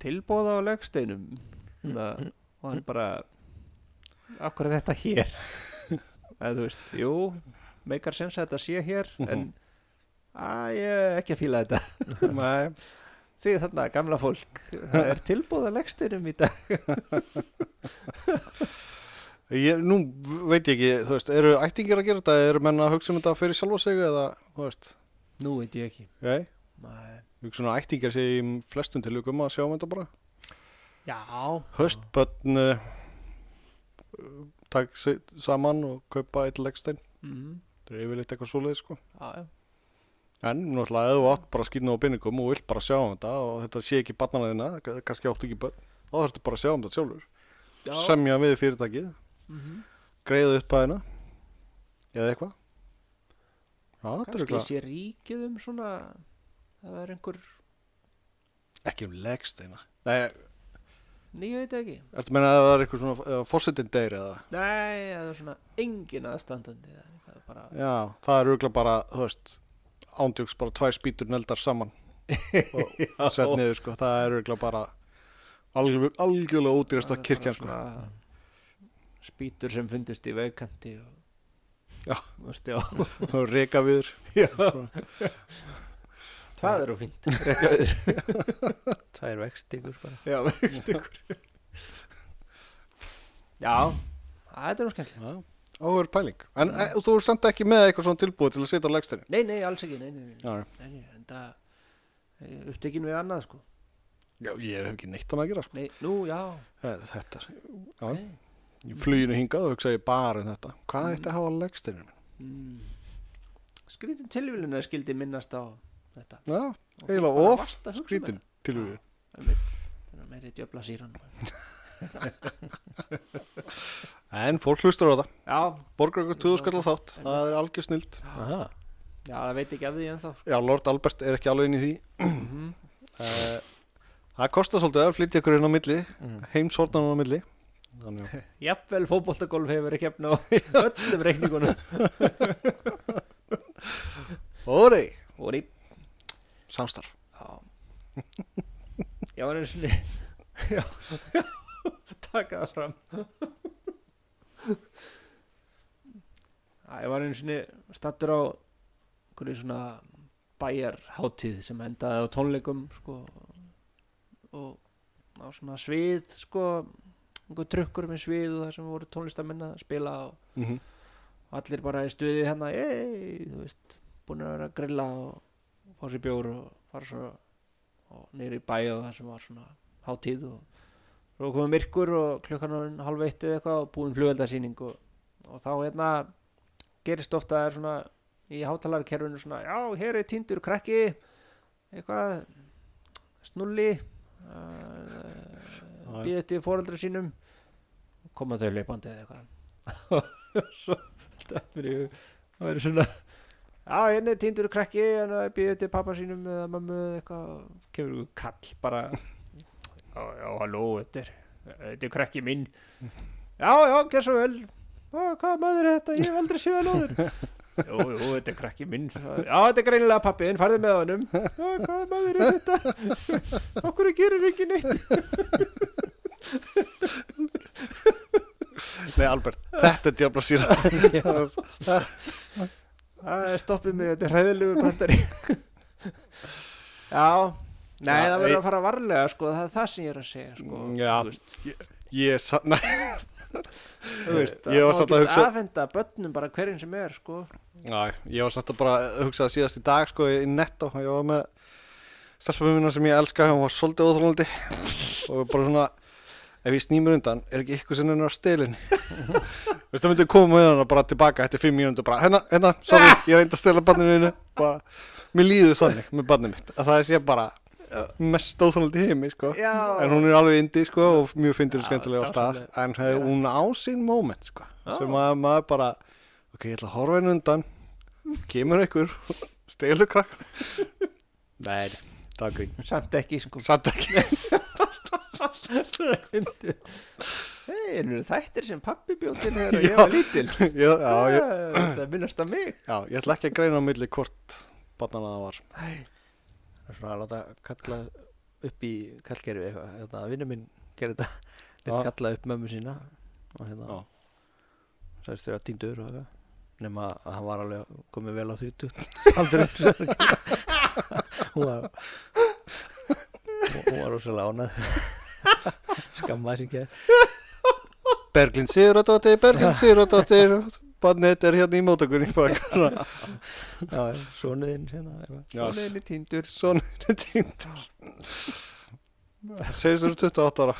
Speaker 1: tilbóða á legsteinum svona, og hann bara akkur er þetta hér eða þú veist, jú meikar sens að þetta sé hér en að ég er ekki að fíla þetta
Speaker 3: sko. Nei,
Speaker 1: Þið þarna gamla fólk, það er tilbúð að legstunum í dag.
Speaker 3: ég, nú veit ég ekki, þú veist, eru ættingir að gera þetta Eru menn að hugsa um þetta fyrir sjálfa sig eða, þú veist,
Speaker 1: Nú veit ég ekki.
Speaker 3: nei
Speaker 1: Nei.
Speaker 3: Hugsa svona ættingir sé í flestum tilugum að sjá um þetta bara
Speaker 1: Já,
Speaker 3: höstbönn uh, takk sig saman og kaupa eitt leggstein
Speaker 1: mm,
Speaker 3: það er yfirleitt eitthvað svoleið sko
Speaker 1: já, já.
Speaker 3: en náttúrulega ef þú átt bara skýrna á pinningum og vilt bara sjá um þetta og þetta sé ekki barnana þína, k- kannski átt ekki bönn þá þarftu bara að sjá um þetta sjálfur
Speaker 1: Já.
Speaker 3: semja við fyrirtækið,
Speaker 1: Mhm.
Speaker 3: greiða upp aðeina eða eitthvað já, þetta er
Speaker 1: Kannski
Speaker 3: eitthvað
Speaker 1: sé ríkið um svona, það er einhver,
Speaker 3: ekki um leggsteina nei,
Speaker 1: ný veit ég ekki.
Speaker 3: ertu meina að það er eitthvað svona fórsetin deyr eða
Speaker 1: Nei, það er svona engin aðstandandi, það er eitthvað bara,
Speaker 3: Já, það er auðvitað bara, þú veist, ándjöks bara tvær spýtur neldar saman og sett niður, sko, það er auðvitað bara algjör, algjörlega
Speaker 1: það
Speaker 3: ódýrasta
Speaker 1: er bara
Speaker 3: kirkjan, sko.
Speaker 1: svona Spýtur sem fundist í vegkanti og,
Speaker 3: Já.
Speaker 1: Þú veist, já.
Speaker 3: Og reka viður,
Speaker 1: já. Það eru fínt.
Speaker 2: Það er vegstegur bara
Speaker 1: Já, veist ykkur Já, það er nú skemmtilega
Speaker 3: já, áhverjur pæling. En e, þú er samt ekki með eitthvað svona tilbúið til að setja á legstæni.
Speaker 1: Nei, nei, alls ekki, nei, nei, nei,
Speaker 3: Já,
Speaker 1: nei, nei En það er upptekin við annað, sko
Speaker 3: já, ég hef ekki neitt hann að gera, sko.
Speaker 1: Nei, nú, já,
Speaker 3: E, Þetta er, já,
Speaker 1: nei
Speaker 3: í fluginu hingað og hugsa ég bara um þetta. Hvað ætti að hafa á legstæni?
Speaker 1: mm. Skrítin tilvílun að skildi minnast á þetta
Speaker 3: Já,
Speaker 1: Og
Speaker 3: eiginlega
Speaker 1: bara
Speaker 3: of
Speaker 1: varst að hugsa um
Speaker 3: skrítin tilvíðin.
Speaker 1: þetta. Einmitt. Það er meiri djöfla síran
Speaker 3: En fólk hlustur á þetta.
Speaker 1: Já,
Speaker 3: Borgar ykkur 2000 skall á þátt. Það er algjör snild.
Speaker 2: Aha.
Speaker 1: já, það veit ekki af því ennþá sko.
Speaker 3: Já, Lord Albert er ekki alveg inn í því
Speaker 1: Mhm.
Speaker 3: Eh, Það kostar svolítið að flytja ykkur inn á milli
Speaker 2: Mm.
Speaker 3: heimshornan á milli þannig að
Speaker 1: Jafnvel fótboltagolf hefur verið kefna á öllum reikningunum
Speaker 3: Óri,
Speaker 1: og rít
Speaker 3: samstarf
Speaker 1: Já Já, en einu sinni Já, taka það fram Já, ég var einu sinni stattur á einhverju svona bæjarhátíð sem endaði á tónleikum sko og á svona svið sko einhver trukkur með svið og það sem voru tónlistamenn að spila og
Speaker 3: mm
Speaker 1: allir bara í stuði hérna ei, þú veist, búin að vera að grilla og fá sér bjór og fara svo og niður í bæ og það sem var svona hátíð og svo komum myrkur og klukkan orðin halv eitt eða eitthvað og búin flugveldarsýning og, og þá hérna gerist ofta að það er svona í hátalarkerfinu svona já, hér er tindur krakki eitthvað snulli uh,
Speaker 3: Já.
Speaker 1: býð eh, eftir fóröldra sínum koma þau leipandi eða eitthvað og svo þetta er í hug það er svona Já, hérna er tindur krakki, hann er býðið til pappa sínum eða mammu eða eitthvað og kemur ykkur kall bara Já, já, halló, þetta er þetta er krakki minn Já, já, gerð svo vel Ó, hvað maður er þetta, ég hef aldrei séð hann áður Jú, jú, þetta er krakki minn Já, þetta er greinilega pappiðin, farðu með honum Já, hvað maður er þetta Okkur gerir ekki neitt
Speaker 3: Nei, Albert, þetta er djöfla síra
Speaker 1: Það er stoppið mig, þetta er hræðilegur brandari Já Nei,
Speaker 3: Já,
Speaker 1: það verður
Speaker 3: ei-
Speaker 1: að fara varlega sko, það er það sem ég er að segja sko.
Speaker 3: Já,
Speaker 1: Þú veist,
Speaker 3: ég sa- Nei,
Speaker 1: þú veist,
Speaker 3: Ég var samt að hugsa-
Speaker 1: Það afhenda börnum bara hverjum sem er sko.
Speaker 3: Já, ég var satt að bara hugsaði síðast í dag sko í netto, ég var með stelpumina sem ég elska, hún var svolítið óþrólandi og bara svona ef ég snýmur undan, er ekki ykkur sem hennar á stelin Veistu, það myndi koma með hana bara tilbaka eftir fimm mínútur, bara hérna, hérna, sorry, ég reyndi að stela barninu einu, bara, mér líður þannig með barnið mitt, að það sé bara mest óþrólandi heimi, sko
Speaker 1: Já,
Speaker 3: en hún er alveg indi, sko, og mjög fyndir og
Speaker 1: Já,
Speaker 3: skemmtilega á stað,
Speaker 1: dásamleg.
Speaker 3: en hef,
Speaker 1: Já.
Speaker 3: hún á sín moment, sko,
Speaker 1: Já.
Speaker 3: sem að maður bara ok, ég ætla að horfa henni undan kemur einhver, stelur krakk nei, það var grín
Speaker 1: samt ekki sko.
Speaker 3: samt ekki,
Speaker 1: Hei, eru þættir sem pappi bjóti þegar
Speaker 3: Já.
Speaker 1: ég var lítil
Speaker 3: ég, já, ég,
Speaker 1: Hvað? Það minnast að mig
Speaker 3: já, ég ætla ekki að greina á milli hvort barnana það var
Speaker 2: Það er svona að láta kalla upp í kallgerfi eitthvað Þetta að vinnu minn gerir þetta Lett
Speaker 3: Já.
Speaker 2: kalla upp mömmu sína og hérna
Speaker 3: Já.
Speaker 2: Sæðist þér að týndur og eitthvað nema að hann var alveg komið vel á 30 aldrei hún var hún var rosalega ánað skammaði sem geð
Speaker 3: Berglind Sigurðardóttir, Berglind Sigurðardóttir barnið er hérna í mótökunni bara svona,
Speaker 2: svonuðinn hérna eitthvað.
Speaker 3: já,
Speaker 1: Svoleiðinni tindur
Speaker 3: svona er týndur segist þér 28 ára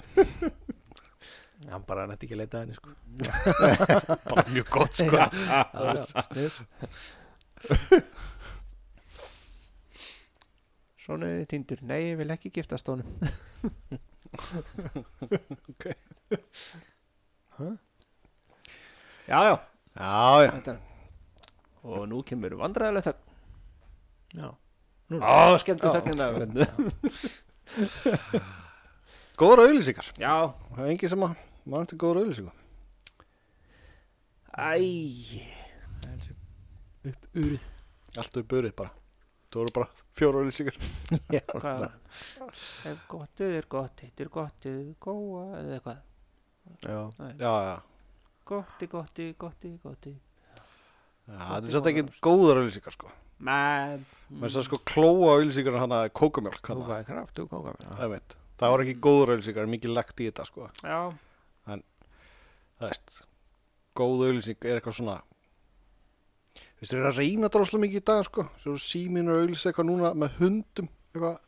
Speaker 2: hann bara nætti ekki að leita að henni sko
Speaker 3: bara mjög gott, sko
Speaker 2: Það veist, snið.
Speaker 1: Svonaðið tindur, nei, ég vil ekki giftast honum
Speaker 3: Ok.
Speaker 1: Huh? Já, já
Speaker 3: já, já,
Speaker 1: Þetta. Og nú kemur vandræðileg þögn
Speaker 2: já
Speaker 1: Ó, skemmtu
Speaker 2: Já.
Speaker 1: þögnina
Speaker 3: góðra auðlýsingar
Speaker 1: Já,
Speaker 3: það er engin sem að, maður eftir góðra auðlýsingar
Speaker 1: æ
Speaker 2: Það er sem upp úr
Speaker 3: allt upp börið bara þú eru bara fjóra auðlýsingar
Speaker 1: Hvað Ef gottið er gott, hitt er gottið góa Eða eitthvað
Speaker 2: já
Speaker 3: já, já,
Speaker 1: Gotti, gotti, gotti, gotti
Speaker 3: já þetta er satt ekki góðar auðlýsingar sko
Speaker 1: Mm. Men
Speaker 3: menn það sko klóa auðlýsingar hann að kókamjólk hana,
Speaker 2: Kókaði kraft og kókaði mér
Speaker 3: það veit, það var ekki góðar auðlýsingar mikið lagt í þetta sko
Speaker 1: Já,
Speaker 3: það veist, góð auðlýsing er eitthvað svona Þú þeir eru að reyna dráslega mikið í dag sko svo eru síminu auðlýsa eitthvað núna með hundum eitthvað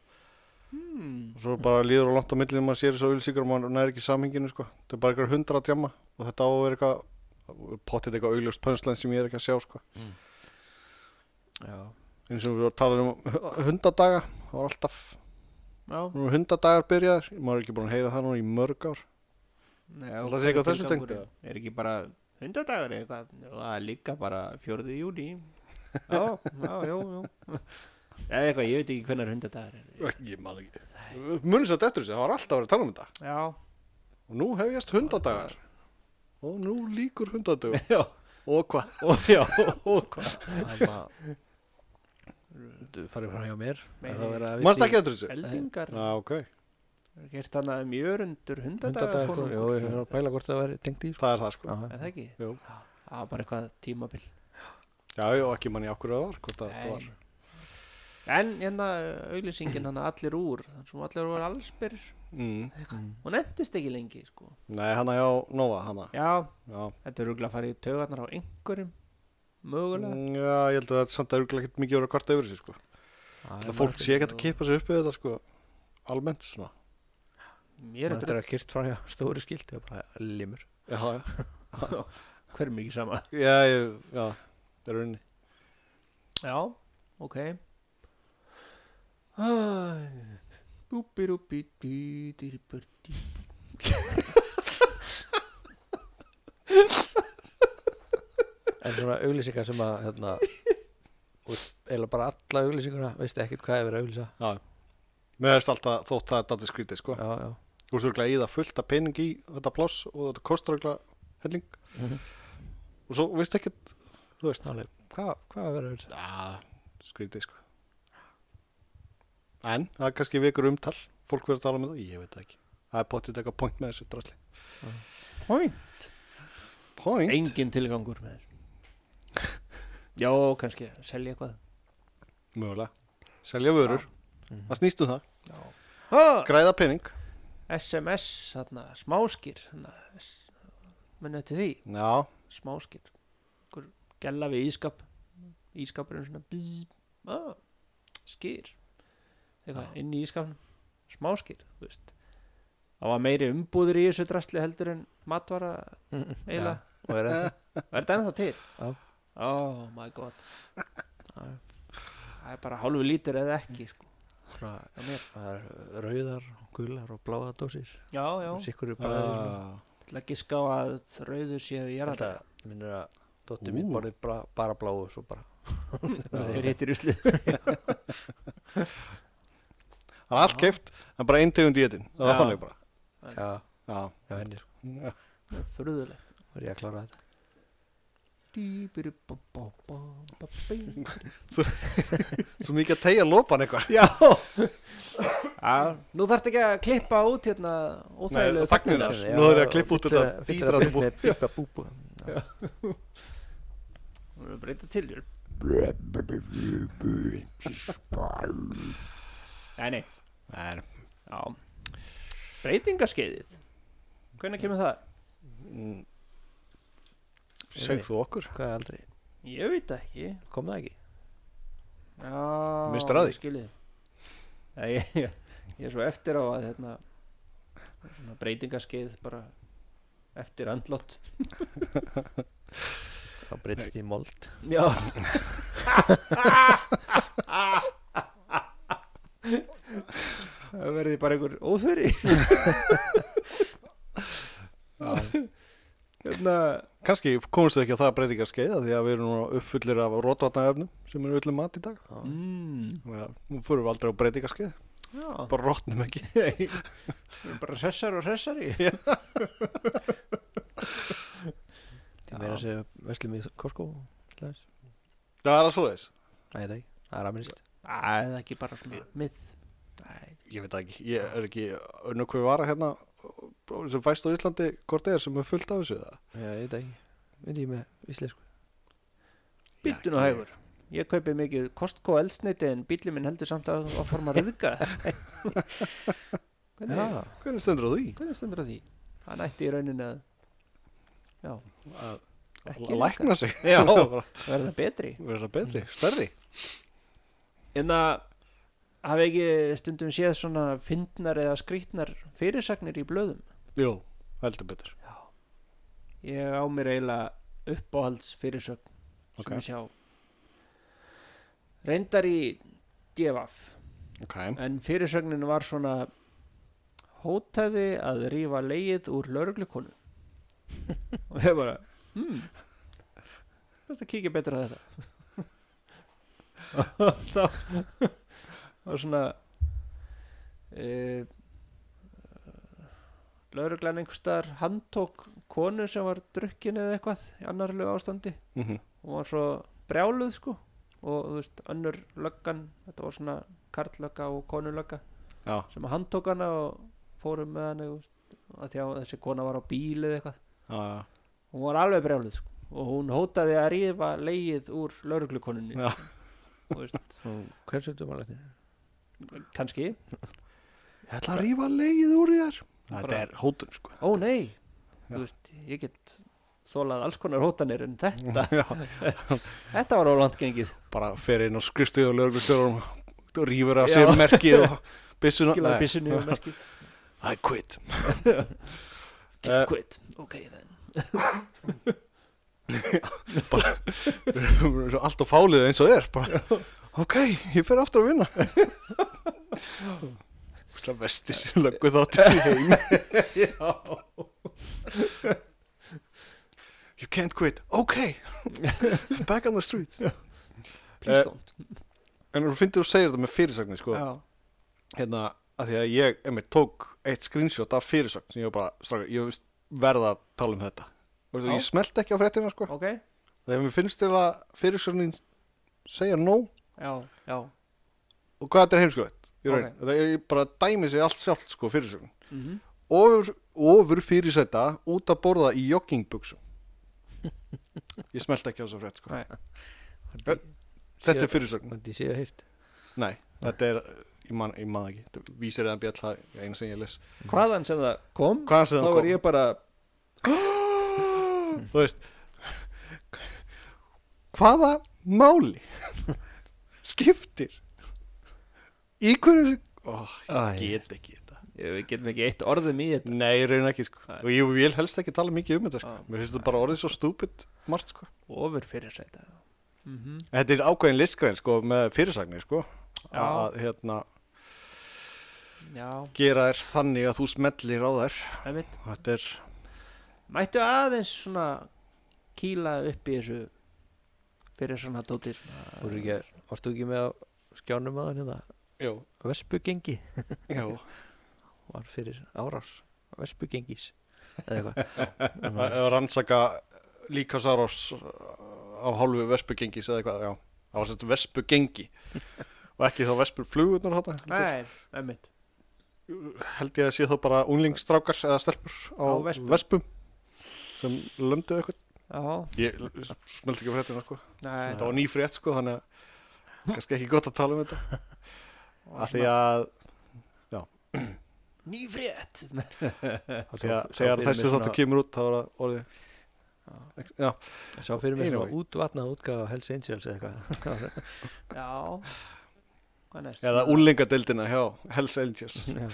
Speaker 1: hmm.
Speaker 3: og svo bara líður og langt á millið maður sér þessar auðlýsingar og maður næri ekki samhenginu sko þetta er bara eitthvað hundra að djama og þetta á að vera eitthvað potið eitthvað auðljóst pönslan sem ég er ekki að sjá sko
Speaker 2: Já
Speaker 3: eins og við varum að tala um hundadaga það var alltaf
Speaker 1: já
Speaker 3: nú eru hundadagar byrjaðar maður er ekki búin að heyra það núna í mörg ár
Speaker 1: Nei,
Speaker 3: Ætli það sé
Speaker 1: og hvað er
Speaker 3: eitthvað þessu
Speaker 1: tilgangurinn?
Speaker 3: tengt,
Speaker 1: Er ekki bara hundadagur eða eitthvað? Já, það er líka bara fjörði júni. Já, já, já, já. Eða eitthvað, ég veit ekki hvernig hundadagur er.
Speaker 3: ég man ekki munið satt eftir þessu, það var alltaf að vera að tala um þetta
Speaker 1: Já,
Speaker 3: og nú hefjast hundadagar og nú líkur hundadögum
Speaker 1: Já,
Speaker 3: og hvað, og já, og hvað
Speaker 2: Það er bara Þú farið frá hjá mér
Speaker 1: Nei,
Speaker 2: Það
Speaker 1: nei.
Speaker 2: var að
Speaker 3: mannst ekki eftir þessu?
Speaker 1: eldingar
Speaker 3: Já, ok,
Speaker 1: Gert um hann að mjörundur hundadaga
Speaker 2: Hundadagur, jú, ég var að pæla hvort það væri tengt í sko.
Speaker 3: það er það sko
Speaker 2: Já,
Speaker 1: Er það ekki?
Speaker 3: Jú.
Speaker 1: Það var bara eitthvað tímabil
Speaker 3: já, já, og ekki manni ákvörðu var, hvort að það
Speaker 1: Nei.
Speaker 3: var
Speaker 1: En hérna auglýsingin hann allir úr þannig sem allir úr allsbyr
Speaker 3: mm.
Speaker 1: og nendist ekki lengi sko.
Speaker 3: nei, hana já, Nova, hana
Speaker 1: Já,
Speaker 3: já,
Speaker 1: þetta er rúglega að fara í taugarnar á einhverjum mögulega
Speaker 3: Mm, já ég held að það er samt að örgulega ekkert mikið voru að kvarta yfir þessu sko
Speaker 2: Það
Speaker 3: það fólk sé ekkert að kippa sig upp við þetta sko almennt svona
Speaker 1: Mér er
Speaker 2: Þetta er að kýrt frá hjá stóri skilt Það er bara limur
Speaker 3: já, já,
Speaker 1: þetta hver mikið sama
Speaker 3: já, ég, já, það er unni
Speaker 1: Já, ok Búbirúbí dýribördí
Speaker 2: En svona auglýsingar sem að hérna, þú veist, Eða bara alla auglýsinguna Veist ekkert hvað er verið að auglýsa
Speaker 3: mér hefst alltaf þótt það er dætið skrítið sko
Speaker 2: Já, já
Speaker 3: þú ert örgulega í það fullt að pening í þetta pláss og þetta kostar örgulega helling
Speaker 2: Mhm.
Speaker 3: og svo veist ekkert þú veist,
Speaker 2: Þannig, hvað, hvað er verið að auglýsa?
Speaker 3: já, skrítið sko en það er kannski vekur umtal fólk verður að tala með það, ég veit það ekki það er pottið eitthvað point með þessu drasli
Speaker 1: Point
Speaker 3: point?
Speaker 1: Engin tilgangur með þessu Já, kannski, selja eitthvað
Speaker 3: mögulega, selja vörur
Speaker 2: Mhm.
Speaker 3: það snýst um það,
Speaker 1: Já ah,
Speaker 3: græða pening
Speaker 1: SMS, þarna, smáskýr þarna, s- Menni til því,
Speaker 3: Já,
Speaker 1: smáskýr Hver gæla við ískap Ískapurinn svona bzz, ah, Skýr Eitthvað, inn í ískapnum Smáskýr, þú veist Það var meiri umbúður í þessu drastli heldur en matvara eiginlega
Speaker 2: Já, og er ennþá-
Speaker 1: Og er þetta ennþá til?
Speaker 2: Já.
Speaker 1: Oh my god Það er bara hálfu lítur eða ekki sko.
Speaker 2: svona-
Speaker 1: hjá mér.
Speaker 2: það er rauðar, og gular og bláða dósir
Speaker 1: Já, já
Speaker 2: Sikkur er bara
Speaker 3: ah,
Speaker 1: Til að giska á að rauðu séu í jarðar
Speaker 2: Þetta minnir að Dóttir mín
Speaker 3: Ú.
Speaker 2: borði bara, bara bláu Svo bara
Speaker 1: Hver hittir uslið
Speaker 3: það er allt keift en bara einn tegund í etin, það var
Speaker 1: Já.
Speaker 3: þannig bara
Speaker 2: Já,
Speaker 3: Já,
Speaker 2: já henni sko
Speaker 3: já,
Speaker 1: Furðulegt
Speaker 2: Var ég að klára
Speaker 1: Já
Speaker 2: þetta
Speaker 3: svo mikið að tegja lopan eitthvað
Speaker 1: Já, Nú þarft ekki að klippa út hérna óþægilegu
Speaker 3: Nei, þagnirnar.
Speaker 1: þagnirnar.
Speaker 3: Já, nú þarf ég að klippa út þetta dýrata bú.
Speaker 2: Dýra búbu
Speaker 1: Nú erum við að breyta til þér Nei, nei
Speaker 3: Nei,
Speaker 1: Já Breytingaskeiðið Hvernig kemur það?
Speaker 3: mm, segð þú okkur
Speaker 2: Hvað er aldrei,
Speaker 1: Ég veit það ekki
Speaker 2: kom það ekki?
Speaker 1: Já,
Speaker 3: Mistir af því?
Speaker 1: Skilji ég, ég, ég er svo eftir á að hérna, svona breytingaskeið bara eftir andlott
Speaker 2: Það breytist í mold
Speaker 1: Já Það verði bara einhver óþveri Hérna
Speaker 3: Kanski komumst við ekki á það breytingarskeiða því að við erum núna uppfullir af rótvatnaöfnum sem eru öllum mat í dag
Speaker 1: mm,
Speaker 3: Þannig að Nú fyrir við aldrei á breytingarskeið
Speaker 1: Já
Speaker 3: bara rótnum ekki
Speaker 1: Nei, við erum bara hressar og hressari
Speaker 2: Því meira að segja veslum í Costco til dæmis.
Speaker 3: Það er að svoleiðis
Speaker 2: Nei, það ekki, það er aminist
Speaker 1: Æ, það er ekki bara svona mið Nei,
Speaker 3: Ég veit það ekki, ég er ekki önnur hver vara hérna sem fæst á Íslandi hvort er sem er fullt af þessu það
Speaker 2: Já, ég veit það ekki, veit ég með íslensku
Speaker 1: Býttu nú
Speaker 3: Já,
Speaker 1: hægur Ég kaupi mikið Costco eldsneiti en bílið minn heldur samt að að forma rauðga hvernig,
Speaker 2: Já,
Speaker 3: Hvernig stendur þú í?
Speaker 1: hvernig stendur á því? Hann ætti í rauninni að Já,
Speaker 3: Að
Speaker 1: Ekki
Speaker 3: lækna sig
Speaker 1: Já.
Speaker 3: Bara
Speaker 1: verða betri
Speaker 3: verða betri, stærri
Speaker 1: En að hafi Hérna, ekki stundum séð svona fyndnar eða skrýtnar fyrirsagnir í blöðum
Speaker 3: Jú, heldur betur
Speaker 1: Ég á mér eiginlega uppáhalds fyrirsögn
Speaker 3: Ok.
Speaker 1: sem ég sjá Reyndar í Djevaf
Speaker 3: Ok,
Speaker 1: En fyrirsögnin var svona hótaði að rífa leið úr lögreglukonu og ég bara hmm best að kíkja betur að þetta og þá var svona e, lauruglan einhverstaðar handtók konu sem var drukkin eða eitthvað í annarlegu ástandi
Speaker 3: Mhm.
Speaker 1: hún var svo brjáluð sko og þú veist, önnur löggan þetta var svona karllögga og konulögga
Speaker 3: Já,
Speaker 1: sem að handtók hana og fórum með hana þú veist, að því að þessi kona var á bíl eða eitthvað
Speaker 3: já, já.
Speaker 1: hún var alveg brjáluð sko. og hún hótaði að rífa leið úr lauruglukonunni
Speaker 3: Já.
Speaker 1: sko. Þú veist,
Speaker 2: Hversu þetta var læknir?
Speaker 1: kannski,
Speaker 3: Ég ætla að rífa leið úr þér Þetta
Speaker 1: Bara-
Speaker 3: er hótun sko
Speaker 1: ó nei
Speaker 3: Já.
Speaker 1: þú veist, ég get þólað alls konar hótanir en þetta
Speaker 3: Já,
Speaker 1: þetta var ólant gengið
Speaker 3: Bara fer inn á skristuð og lögreglustjórum og rífur af
Speaker 1: Já.
Speaker 3: sér merkið og byssuna
Speaker 1: Gilaði
Speaker 3: Nei,
Speaker 1: byssunni og merkið
Speaker 3: I quit
Speaker 1: Get
Speaker 3: Eh.
Speaker 1: quit, ok then
Speaker 3: Svo Allt og fálið eins og er bara, Ok, ég fer aftur að vinna Það vesti sem löggu þáttur í heim You can't quit, ok Back on the streets
Speaker 1: Please
Speaker 3: Eh,
Speaker 1: don't
Speaker 3: En þú finnir þú segir þetta með fyrirsagnir sko
Speaker 1: Já,
Speaker 3: hérna að því að ég einmitt tók eitt screenshot af fyrirsögn sem ég var bara, stráka, ég veist verða að tala um þetta og
Speaker 1: Já.
Speaker 3: ég smelt ekki á fréttina sko
Speaker 1: ok,
Speaker 3: þegar mér finnst til að fyrirsögnin segja no
Speaker 1: já, já
Speaker 3: og hvað þetta er heimskulegt í raun,
Speaker 1: Ok.
Speaker 3: okay. það er bara dæmi sig allt sjálft sko fyrirsögn
Speaker 1: mm
Speaker 3: ofur, ofur fyrirsæta út að borða í joggingbuksum ég smelt ekki á þessa frétt sko
Speaker 1: Nei.
Speaker 3: þetta er fyrirsögn,
Speaker 2: Þannig séu að hýrt
Speaker 3: nei, þetta er ég man, ég man það ekki, Þetta vísir eða bjall það er eina sem ég les
Speaker 1: Hvaðan sem það kom,
Speaker 3: Hvaðan sem
Speaker 1: þá
Speaker 3: það
Speaker 1: var
Speaker 3: kom?
Speaker 1: ég bara
Speaker 3: þú veist hvaða máli skiptir í hverju Ó,
Speaker 1: Æ.
Speaker 3: ég get ekki þetta
Speaker 1: Ég getum ekki eitt orðum í hérna. þetta
Speaker 3: nei, raun ekki sko
Speaker 1: Nei.
Speaker 3: og ég vil helst ekki tala mikið um þetta sko.
Speaker 1: Ah.
Speaker 3: mér finnst þetta bara orðið svo stúpid margt sko
Speaker 1: Ofur fyrir sæta mm
Speaker 3: þetta er ákveðin listgræn sko með fyrirsagnir sko
Speaker 1: Já.
Speaker 3: að hérna
Speaker 1: Já,
Speaker 3: gera þér þannig að þú smellir á þær
Speaker 1: einmitt
Speaker 3: þetta er
Speaker 1: Mættu aðeins svona kýla upp í þessu fyrir svona dóti svona-
Speaker 2: Voru ekki, að- varstu ekki með á skjánum aðan hérna
Speaker 3: já,
Speaker 2: Vespugengi
Speaker 3: já.
Speaker 2: var fyrir árás Vespugengis eða
Speaker 3: Að-
Speaker 2: eitthvað
Speaker 3: að rannsaka líka Saros á hálfu vespugengis eða eitthvað, já, það var sett vespugengi og ekki þá vespurflugurnar þarna, heldur.
Speaker 1: Nei, einmitt
Speaker 3: held ég að sé þá bara unglingsstrákar eða stelpur á,
Speaker 1: Á
Speaker 3: vespum.
Speaker 1: vespum.
Speaker 3: sem lömdu eitthvað
Speaker 1: Já,
Speaker 3: ég smelt ekki fréttina sko
Speaker 1: nei
Speaker 3: þetta var ný frétt sko, þannig að kannski ekki gott að tala um þetta af því að,
Speaker 1: Nýfrétt
Speaker 3: af því
Speaker 2: Sá-
Speaker 3: að þegar
Speaker 2: sá
Speaker 3: þessi
Speaker 2: fyrir mér svona-
Speaker 3: þáttu kemur út þá var það orðið já,
Speaker 2: Sá fyrir mig
Speaker 3: Anyway.
Speaker 2: svona útvatnað útgáfa Hells Angels eða eitthvað
Speaker 1: Já Hvað næst?
Speaker 3: eða úlingadeildina hjá Hells Angels
Speaker 2: Já.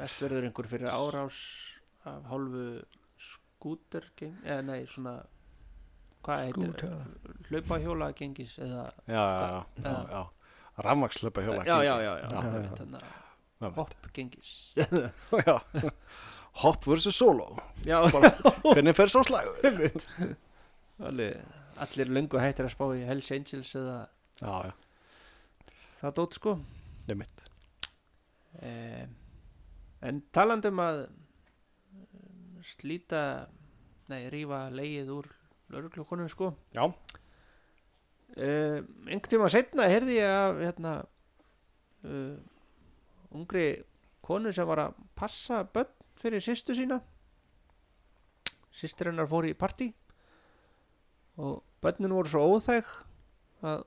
Speaker 1: Næst verður einhver fyrir árás af hálfu skúter eða nei, svona hvað heitir,
Speaker 2: Skúta.
Speaker 1: hlaupahjóla gengis eða,
Speaker 3: já, já, já,
Speaker 1: Já.
Speaker 3: já, já. rafmakslöpa hjóla
Speaker 1: já, já, já, já,
Speaker 3: Já.
Speaker 1: einmitt, þarna,
Speaker 3: Einmitt.
Speaker 1: hopp gengis
Speaker 3: já. Hopp versus solo
Speaker 1: já,
Speaker 3: Bara, Hvernig fer svo slagur
Speaker 1: alveg, allir löngu hættir að spá í Hells Angels eða
Speaker 3: Já, já,
Speaker 1: það dót sko
Speaker 3: það er mitt
Speaker 1: eh, en talandum að eh, slíta nei, rífa leið úr lauruglukonum sko
Speaker 3: Já,
Speaker 1: uh, einhvern tíma setna heyrði ég af hérna uh, ungri konu sem var að passa börn fyrir sýstu sína sýstir hennar fór í partí og börnin voru svo óþæg að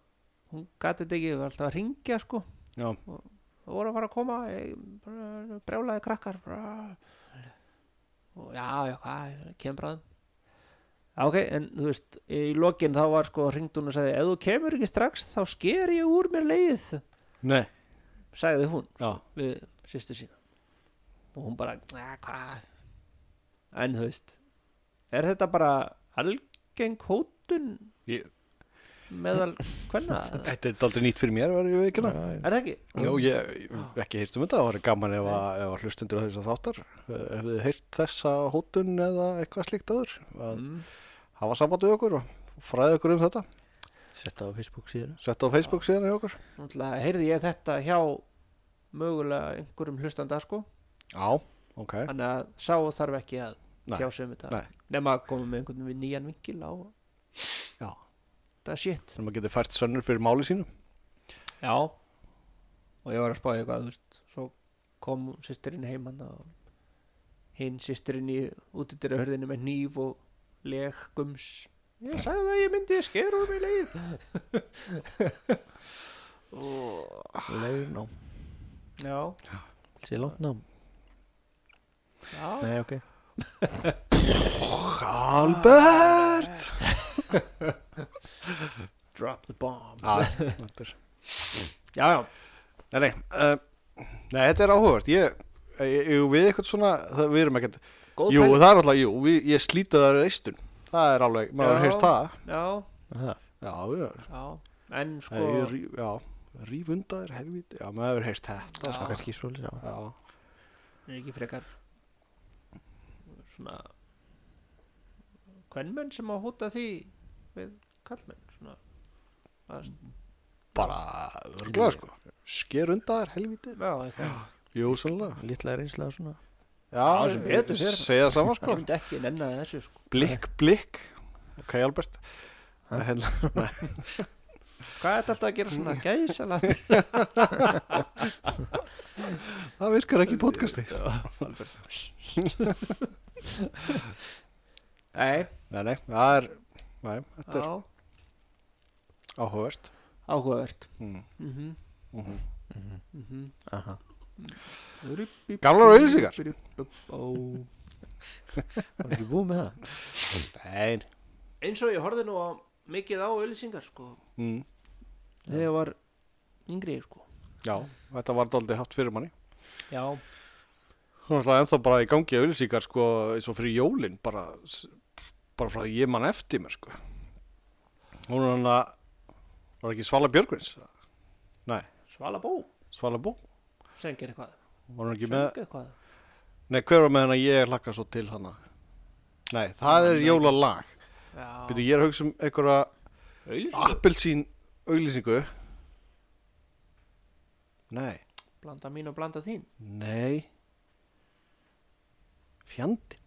Speaker 1: hún gati þetta ekki var alltaf að ringja sko
Speaker 3: já,
Speaker 1: og voru að fara að koma ég, bara, brjálaði krakkar bara, og já, já, hvað, kemur bráðum Já, ok, en þú veist í lokin þá var sko hringd hún og sagði ef þú kemur ekki strax þá sker ég úr mér leið
Speaker 3: nei,
Speaker 1: sagði hún
Speaker 3: já,
Speaker 1: við sýstu sína og hún bara, "Ah, hvað en þú veist er þetta bara algeng hótun
Speaker 3: Ég-
Speaker 1: meðal hvenna er
Speaker 3: þetta er aldrei nýtt fyrir mér verður ég veikina
Speaker 2: Já,
Speaker 1: það ekki?
Speaker 3: Já, ég ég hef ekki heyrt um þetta, það var gaman ef að, ef að hlustundur á þess að þáttar eh, ef þið heyrt þessa hótun eða eitthvað slíkt áður að
Speaker 1: Mm.
Speaker 3: hafa samband við okkur og fræða okkur um þetta,
Speaker 2: Setta á Facebook síðan
Speaker 3: setta á Facebook síðan í okkur
Speaker 1: Náttúrulega heyrði ég þetta hjá mögulega einhverjum hlustanda sko
Speaker 3: Já, ok,
Speaker 1: þannig að sá þarf ekki að
Speaker 3: Nei,
Speaker 1: tjá sig um þetta
Speaker 3: nei.
Speaker 1: nema að koma með einhvern við nýjan vinkil á
Speaker 3: já
Speaker 1: það shit
Speaker 3: þannig að maður getur fært sönnur fyrir máli sínu
Speaker 1: já og ég var að spáði eitthvað þú veist, svo kom sýstirinn heimann og hinn sýstirinn í útidyra hörðinu með nýf og leg gums ég sagði það að ég myndi skera úr mig leið og
Speaker 2: Ah. Leunám,
Speaker 1: já,
Speaker 2: sé langtnám
Speaker 1: já
Speaker 2: Nei, ok
Speaker 3: Albert
Speaker 1: drop the bomb
Speaker 3: ah, þetta er-
Speaker 1: já, já,
Speaker 3: nei, nei, uh, nei, þetta er áhugavert ég, ég, ég við eitthvað svona það, við erum ekkert,
Speaker 1: góð
Speaker 3: jú
Speaker 1: pæling.
Speaker 3: það er alltaf jú, við, ég slíti það reistun það er alveg, maður
Speaker 1: Já.
Speaker 3: hefur heyrt það
Speaker 1: já,
Speaker 2: Það,
Speaker 3: já, við-
Speaker 1: já, en sko
Speaker 3: það er, rí- já, rífundaður helviti, já, maður hefur heyrt þetta
Speaker 1: Já.
Speaker 2: það er kannski svolítið já.
Speaker 3: já,
Speaker 1: er ekki frekar svona hvernmenn sem að hóta því við kallmenn svona að,
Speaker 3: bara örglega sko sker undaður helviti
Speaker 1: já, eitthvað
Speaker 3: jú, sannlega
Speaker 2: Lítla reynsla og svona
Speaker 1: Já, sem betur fer.
Speaker 3: segja sama
Speaker 1: það
Speaker 3: sko
Speaker 1: myndi ekki nenni að þessu sko.
Speaker 3: blikk, blikk ok, Albert Það er hérna-
Speaker 1: hvað er þetta alltaf að gera svona gæsala
Speaker 3: það virkar ekki í podcasti nei,
Speaker 1: nei,
Speaker 3: nei, það er nei, þetta er
Speaker 1: já,
Speaker 3: áhugavert
Speaker 1: áhugavert
Speaker 3: mm.
Speaker 1: mhm,
Speaker 3: Mhm.
Speaker 1: mhm
Speaker 2: Aha.
Speaker 3: Gamlar auglýsingar.
Speaker 1: Ó.
Speaker 2: Var ekki búið með það?
Speaker 3: nei
Speaker 1: eins og ég horfði nú á mikið á öllisingar sko
Speaker 3: mm.
Speaker 1: þegar ég var yngri sko
Speaker 3: já, þetta var daldið haft fyrir manni
Speaker 1: já,
Speaker 3: hún er alltaf ennþá bara í gangi auðlýsingar sko, eins og fyrir jólin bara, s- bara frá því ég man eftir mér sko. hún er hann að var ekki Svala Björgvins
Speaker 1: Svala Bó
Speaker 3: Svala Bó,
Speaker 1: söngir eitthvað
Speaker 3: var hann ekki með
Speaker 1: söngir eitthvað
Speaker 3: Nei, hver var með hana ég hlakka svo til hana? Nei, það er jólalag. Býtu,
Speaker 1: Já,
Speaker 3: ég er að hugsa um einhverja
Speaker 1: auðlýsingu,
Speaker 3: appelsín auglýsingu. Nei,
Speaker 1: blanda mín og blanda þín
Speaker 3: nei. Fjandi.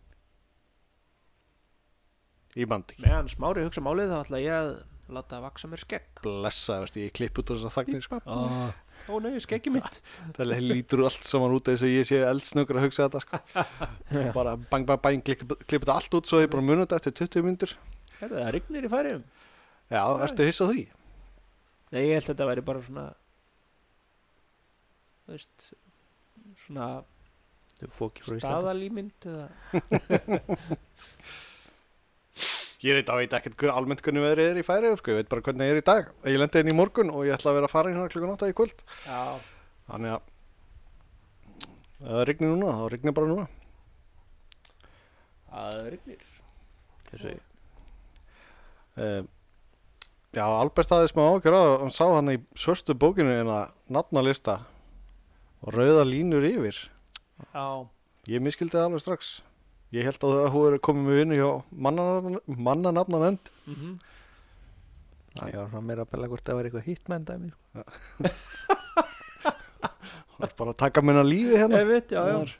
Speaker 3: Ég band ekki.
Speaker 1: meðan smári hugsa málið þá ætla ég að láta vaksa mér skegg
Speaker 3: Blessa, veist, ég klipp út á þess að þagnir, sko.
Speaker 1: ó nei, skeggi mitt
Speaker 3: Það lítur allt saman út eins og ég sé eldsnöggur að hugsa þetta, sko. Bara bang, bang, bang, klipp klipp þetta allt út svo ég bara munið þetta eftir 20 myndur.
Speaker 1: Herðu, það rignir í færiðum
Speaker 3: Já, ertu hissað því?
Speaker 1: nei, ég held að þetta væri bara svona þú veist svona
Speaker 2: Þau fóki frá Íslandi
Speaker 1: staðalímynd eða
Speaker 3: Ég veit að veit ekkert hver, almennt hvernig veðrið er í færiðum sko, ég veit bara hvernig er í dag. Ég lendi inn í morgun og ég ætla að vera að fara inn hérna klukkan 8 í kvöld.
Speaker 1: já,
Speaker 3: Þannig að ef það rignir núna, þá rignir bara núna.
Speaker 1: það rignir
Speaker 2: Þessu
Speaker 3: Uh, já, Albert aðeins smá ákjör á, hann sá hann í svörstu bókinu en að nafnalista og rauða línur yfir.
Speaker 1: já,
Speaker 3: Ég miskildi það alveg strax. Ég held að það er komið með vinnu hjá mannanafnan- mannanafnanefnd.
Speaker 1: mhm
Speaker 2: Ah, Ég var svona meira að bella hvort það var eitthvað hitt menn dæmi sko.
Speaker 3: Það er bara að taka minna lífi hérna.
Speaker 1: ég veit, já,
Speaker 3: Maður.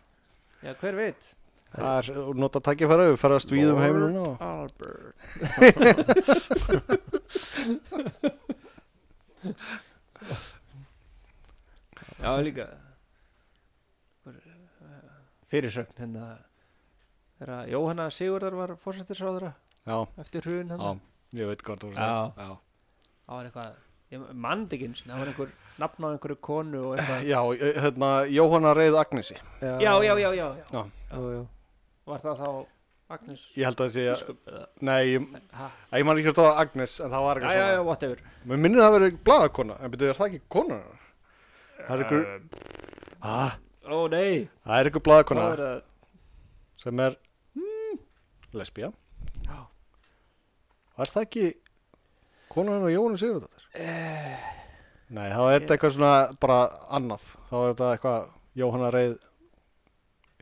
Speaker 1: já já, hver veit
Speaker 3: Það er og nota takkifæra, við ferðast við um heim núna. og-
Speaker 1: Albert Já líka fyrirsögn hérna þegar að Jóhanna Sigurðar var fórsættisráðara
Speaker 3: Já,
Speaker 1: eftir hrun hann
Speaker 3: já,
Speaker 1: það
Speaker 3: ég veit hvað þú voru
Speaker 1: Já.
Speaker 3: að segja. Já.
Speaker 1: var eitthvað ég mandi ekki einu sinni, það var einhver nafn á einhverju konu og eitthvað
Speaker 3: Já, eh, hérna, Jóhanna Reið Agnesi
Speaker 1: já já já já, já.
Speaker 2: Jú, jú.
Speaker 1: var það þá Agnes
Speaker 3: Ég held að það sé,
Speaker 1: biskup eða
Speaker 3: nei, ég,
Speaker 1: ha,
Speaker 3: að ég man ekki hvort það var Agnes En það var
Speaker 1: já
Speaker 3: eitthvað
Speaker 1: já já
Speaker 3: svona
Speaker 1: whatever
Speaker 3: Mér minnir það að vera bladakona, en betur er það ekki kona hennar? Það er ykkur, ah,
Speaker 1: ó nei
Speaker 3: það er ykkur
Speaker 1: Eh. það
Speaker 3: bladakona
Speaker 1: var það
Speaker 3: sem er lesbía
Speaker 1: Já.
Speaker 3: Var það ekki kona hennar Jóhanna Sigurðardóttir?
Speaker 1: Eh.
Speaker 3: Nei, þá er þetta eitthvað svona bara annað Þá er þetta eitthvað Jóhanna Reið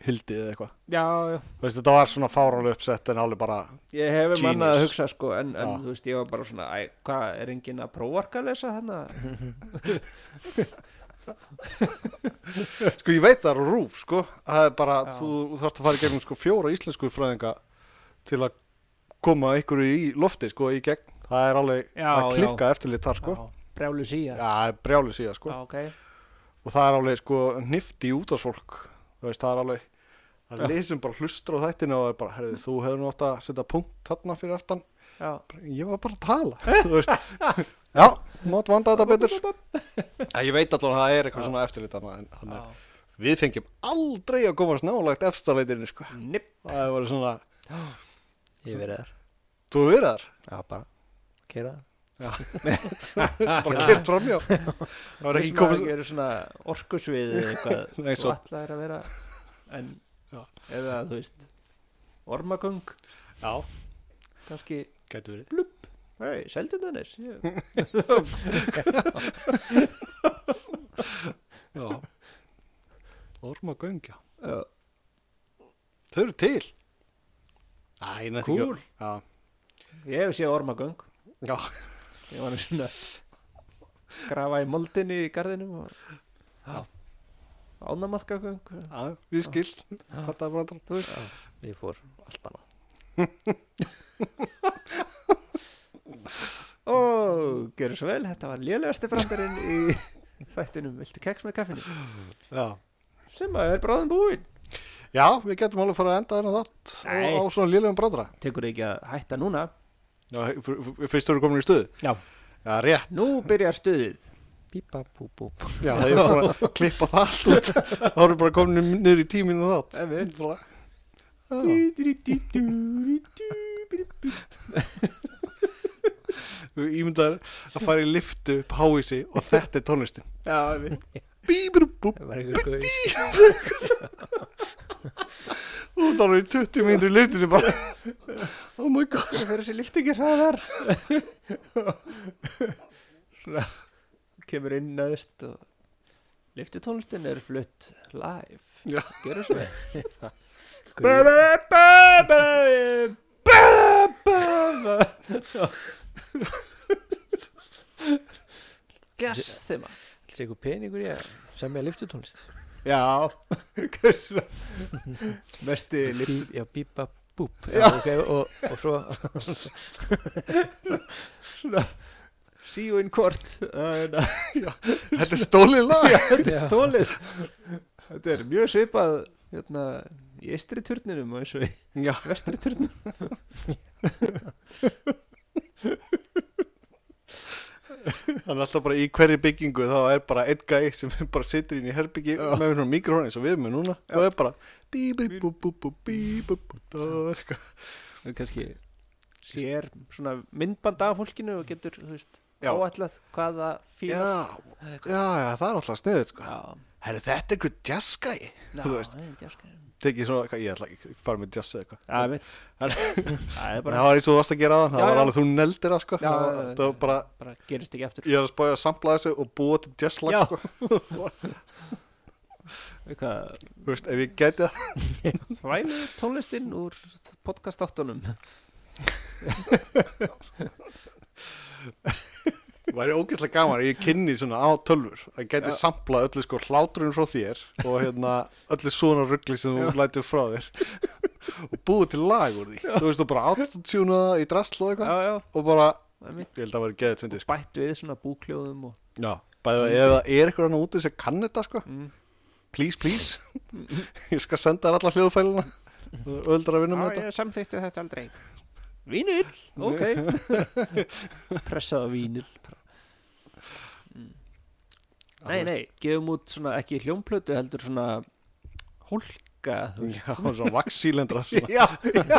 Speaker 3: Hildi eða eitthvað
Speaker 1: já já
Speaker 3: Þú veist, þetta var svona fárálega uppsett en alveg bara
Speaker 1: Ég hef um
Speaker 3: Genius.
Speaker 1: annað að hugsa sko en,
Speaker 3: Já.
Speaker 1: en þú
Speaker 3: Mhm.
Speaker 1: veist ég var bara svona æ, hvað er enginn að prófarka lesa þarna
Speaker 3: Sko ég veit það er á rúf sko Það er bara,
Speaker 1: Já.
Speaker 3: þú þarfst að fara í gegnum sko fjóra íslensku fræðinga til að koma einhverju í lofti sko í gegn Það er alveg
Speaker 1: Já,
Speaker 3: að
Speaker 1: já.
Speaker 3: klikka eftirlit þar sko Já,
Speaker 1: brjálu síja
Speaker 3: það er brjálu síðan sko
Speaker 1: ok
Speaker 3: Og það er alveg sko nifti útvarsfólk Það veist, það er alveg Það er leysum bara hlustur á þættinu og er bara, herrið, þú hefur nú átt að setja punkt þarna fyrir aftan
Speaker 1: já.
Speaker 3: ég var bara að tala þú veist já, mót vanda þetta betur ja, ég veit allavega að það er eitthvað svona eftirlit þarna, en þannig að við fengjum aldrei að komast nálagt efstaleitinu sko.
Speaker 1: Nipp.
Speaker 3: það er bara svona,
Speaker 2: Ég verið þar
Speaker 3: þú verður þar
Speaker 2: Já, bara Kera það
Speaker 3: bara kert fram hjá það var ekki
Speaker 1: Viss maður
Speaker 3: komast
Speaker 1: ekki verið svona orkusvið eða eitthvað
Speaker 3: Nei,
Speaker 1: þú
Speaker 3: svo-
Speaker 1: ætlaðir að vera en
Speaker 3: Já.
Speaker 1: eða þú veist ormaköng
Speaker 3: já,
Speaker 1: kannski
Speaker 3: getur verið
Speaker 1: hei, seldum þannig ég,
Speaker 3: já. orma göngja
Speaker 1: já,
Speaker 3: þau eru til Æ, ég nefndi ekki
Speaker 1: Kúl.
Speaker 3: að-
Speaker 1: ég hef séð ormaköng
Speaker 3: já, já,
Speaker 1: ég var nú svona grafa í moldinni í garðinum og
Speaker 2: Já.
Speaker 1: ánamaðkaköng
Speaker 3: já, við skil þetta er bara að
Speaker 1: þú veist
Speaker 2: Ég fór allt annað
Speaker 1: ó, gerðu svo vel, þetta var lélegasti brandarinn í þættinum viltu keks með kaffinu
Speaker 3: já
Speaker 1: sem að er bráðum búinn
Speaker 3: Já, við getum alveg fara að enda þennan þátt
Speaker 1: Nei.
Speaker 3: á, á svona lélegum brandra.
Speaker 1: tekur ekki að hætta núna
Speaker 3: Já, f- f- fyrst þú eru komin í stuð.
Speaker 1: já
Speaker 3: Já, rétt.
Speaker 1: Nú byrjar stuðið
Speaker 2: Pípa, bú, bú, bú
Speaker 3: Já, það er bara að klippa það allt út. Það eru bara komin niður í tíminu þátt.
Speaker 1: En við
Speaker 3: Bara- Já,
Speaker 1: Þetta
Speaker 3: Þú ímyndar að fara í liftu upp háísi og þetta er tónlistin. Bíbru, bú,
Speaker 2: Það var einhver gauð
Speaker 3: út alveg í 20 mínútur í liftinu bara. Oh my god.
Speaker 1: fyrir þessi lift ekki hraðar Svona kemur inn neðst og liftitónlistin er flutt live
Speaker 3: Já.
Speaker 1: Gerðu svo vel.
Speaker 2: Gauð
Speaker 1: Gess þeim
Speaker 2: Það er einhver peningur ég sem ég liftutónlist
Speaker 1: Já Hversu Mesti lift
Speaker 2: Bí- Já, bípa, bú Já, ok, og, og svo
Speaker 1: svona See you in court Það er-
Speaker 3: Þetta er stólið lag.
Speaker 1: þetta er stólið þetta er mjög svipað hérna, í eistri turninum og eins og í
Speaker 3: Já,
Speaker 1: vestri turninum
Speaker 3: þannig alltaf bara í hverju byggingu þá er bara einn gæi sem bara situr inn í herbyggi
Speaker 1: Já.
Speaker 3: með svona mikrofónin sem við erum með núna og er bara bíbri, bú, bú, bú, bíbri, bú, það er eitthvað.
Speaker 1: og kannski sér svona myndband af fólkinu og getur þú veist
Speaker 3: Já.
Speaker 1: áallað hvaða fíl
Speaker 3: Já, já, já, það er alltaf sniðið sko.
Speaker 1: já,
Speaker 3: Herri, þetta er einhver jazzgæi
Speaker 1: já,
Speaker 3: Þú veist.
Speaker 1: það er djaskar.
Speaker 3: Tekið svona, hvað, ég ætla ekki að fara með jazz eða eitthvað
Speaker 1: Já, einmitt. það er
Speaker 3: Það
Speaker 1: bara,
Speaker 3: var eins og þú varst að gera það,
Speaker 1: Já,
Speaker 3: það var
Speaker 1: já.
Speaker 3: alveg þú neldir það sko
Speaker 1: Já,
Speaker 3: Það var-
Speaker 1: já, já.
Speaker 3: Það var bara,
Speaker 1: bara gerist ekki aftur
Speaker 3: ég er að spája að sampla þessu og búa til jazzlag
Speaker 1: Já.
Speaker 3: sko
Speaker 1: eitthvað
Speaker 3: Þú veist, ef ég gæti það
Speaker 1: þvælu tónlistin úr podcastáttunum
Speaker 3: væri ógeðslega gaman ef ég kynni svona á tölfur að gæti
Speaker 1: Já.
Speaker 3: samplað öllu sko hláturinn frá þér og hérna öllu svona ruggli sem þú lætur frá þér og búið til lag úr því Þú veist, þú bara autotuna það í drasl og
Speaker 1: já,
Speaker 3: eitthvað
Speaker 1: já,
Speaker 3: og bara,
Speaker 1: einmitt.
Speaker 3: ég held að það væri geðið tvindis
Speaker 1: bætt við svona búkljóðum og
Speaker 3: Já, bæði ef það er eitthvað hann úti sem kann þetta sko
Speaker 1: Mm.
Speaker 3: Please, please Ég skal senda þér alla hljóðfæluna Öldra að vinna með
Speaker 1: Já,
Speaker 3: þetta
Speaker 1: ég samþýtti þetta aldrei Vínill, ok Pressað á vínill Nei, nei, gefum út svona ekki hljómplötu heldur svona hólka þú veist.
Speaker 3: Já, svona vaksílendra svona.
Speaker 1: Já, já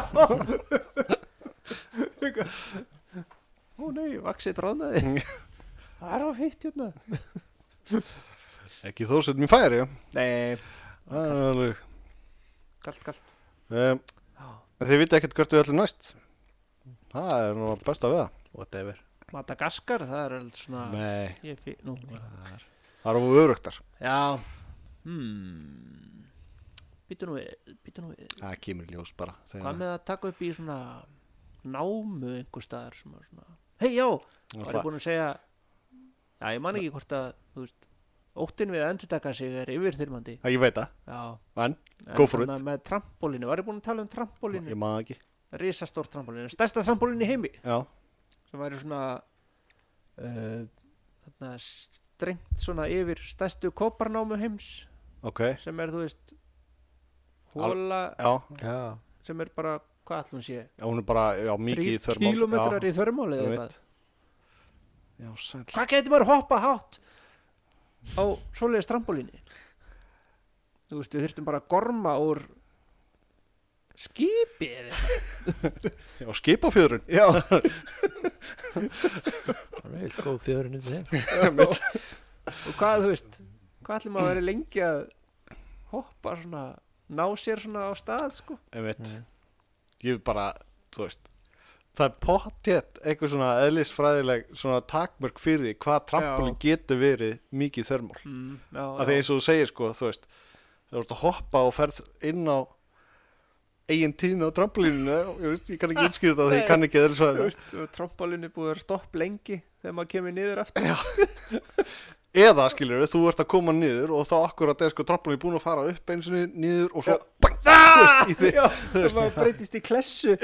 Speaker 1: Ó nei, vaxið bráðnaði Það er á heitt hérna
Speaker 3: Ekki þó sem mér færi já.
Speaker 1: Nei,
Speaker 3: Það er alveg.
Speaker 1: kalt, kalt
Speaker 3: um, Þið viti ekkert hvert við ætlum næst Það er nú best að veða
Speaker 2: Whatever
Speaker 1: Madagaskar, það er alveg svona
Speaker 3: Nei
Speaker 1: Ég fyrir, nú
Speaker 3: Það eru öfrugtar
Speaker 1: Já hmm. Býtu nú við, býtu nú við
Speaker 3: Það kemur í ljós bara
Speaker 1: Hvað með að taka upp í svona námu einhver staðar sem er svona Hei já, var ég búin að segja Já, ég man ekki hvort að þú veist, Óttin við að endurtaka sig er yfirþyrmandi
Speaker 3: Það ég veit það,
Speaker 1: Já
Speaker 3: en
Speaker 1: En
Speaker 3: Go for
Speaker 1: þarna Með trampólínu, var ég búin að tala um trampólínu
Speaker 3: ég maður ekki
Speaker 1: Rísastór trampólínu, stærsta trampólínu í heimi
Speaker 3: Já,
Speaker 1: Sem væri svona uh, Þarna strengt svona yfir stærstu kóparnámu heims
Speaker 3: ok
Speaker 1: Sem er, þú veist
Speaker 3: Al-
Speaker 1: Hóla
Speaker 3: Já,
Speaker 2: já,
Speaker 1: sem er bara, hvað ætlum sé
Speaker 3: já, hún er bara, já, mikið í
Speaker 1: Þrýr
Speaker 3: þörmál
Speaker 1: kílómetrar
Speaker 3: já,
Speaker 1: í þörmáli
Speaker 3: ég
Speaker 1: eða
Speaker 3: veit.
Speaker 1: eitthvað
Speaker 3: Já, sæll
Speaker 1: Hvað getur maður hoppa hátt á svoleiðis trampolíni? Þú veist, við þurftum bara að gorma úr skipi eða eitthvað.
Speaker 3: Já, skipafjörun
Speaker 1: Já,
Speaker 2: það er heilt góð fjörun yfir þeim
Speaker 1: og hvað, þú veist, hvað ætlum maður að vera lengi að hoppa svona, ná sér svona á stað, sko?
Speaker 3: Einmitt Ég bara, þú veist Það er pottjett einhver svona eðlisfræðileg svona takmörk fyrir því hvað trampolín getur verið mikið í þörmál
Speaker 1: Mm, já,
Speaker 3: að því eins og þú segir sko þú veist, þú ert að hoppa og ferð inn á eigin tíðinu á trampolíninu og ég, veist, ég kann ekki útskýra þetta því ég kann ekki
Speaker 1: Þú
Speaker 3: eðlisfræðina
Speaker 1: veist, trampolínu búið að vera stopp lengi þegar maður kemur niður aftur.
Speaker 3: eða skilur þú ert að koma niður og þá akkurat er sko trampolín búin að fara upp eins og niður og svo bang, þú veist, í því,
Speaker 1: Já, það maður breytist í klessu.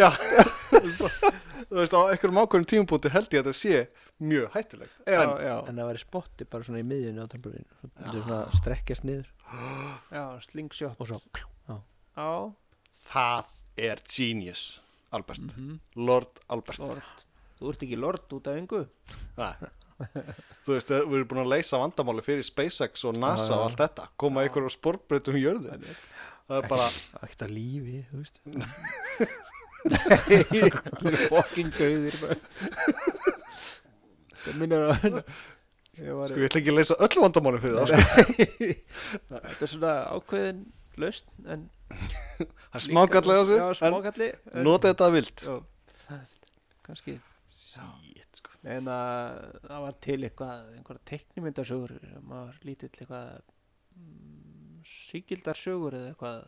Speaker 3: þú veist á einhverjum ákveðum tímabúti held ég að þetta sé mjög hættulegt
Speaker 1: Já,
Speaker 3: en
Speaker 1: já,
Speaker 2: en það væri spotti bara svona í miðjunni á trampolínu þetta er svona að strekkjast niður
Speaker 1: já, slingshot.
Speaker 2: og svo
Speaker 1: Já,
Speaker 3: það er genius Albert,
Speaker 1: Mhm.
Speaker 3: Lord Albert
Speaker 1: lord. Þú ert ekki lord út af yngu.
Speaker 3: Nei. þú veist, við erum búin að leysa vandamáli fyrir SpaceX og NASA og allt þetta koma einhverjum sportbreytum í jörðu það er bara,
Speaker 2: ekkert að lífi, þú veist
Speaker 1: Þeir eru fokkin gauðir bara. Það minnir á hann Ég var
Speaker 3: sko, ég ætla ekki að leysa öll vandamáli fyrir það,
Speaker 1: Þetta er svona ákveðin laust en
Speaker 3: sko. það er smákallega á
Speaker 1: Já,
Speaker 3: sig en
Speaker 1: smákalli en-
Speaker 3: nota þetta vilt
Speaker 1: Já, Kannski
Speaker 3: Shit, sko.
Speaker 1: En að það var til eitthvað einhverja teiknimyndasögur maður lítill eitthvað mm, síkildarsögur eða eitthvað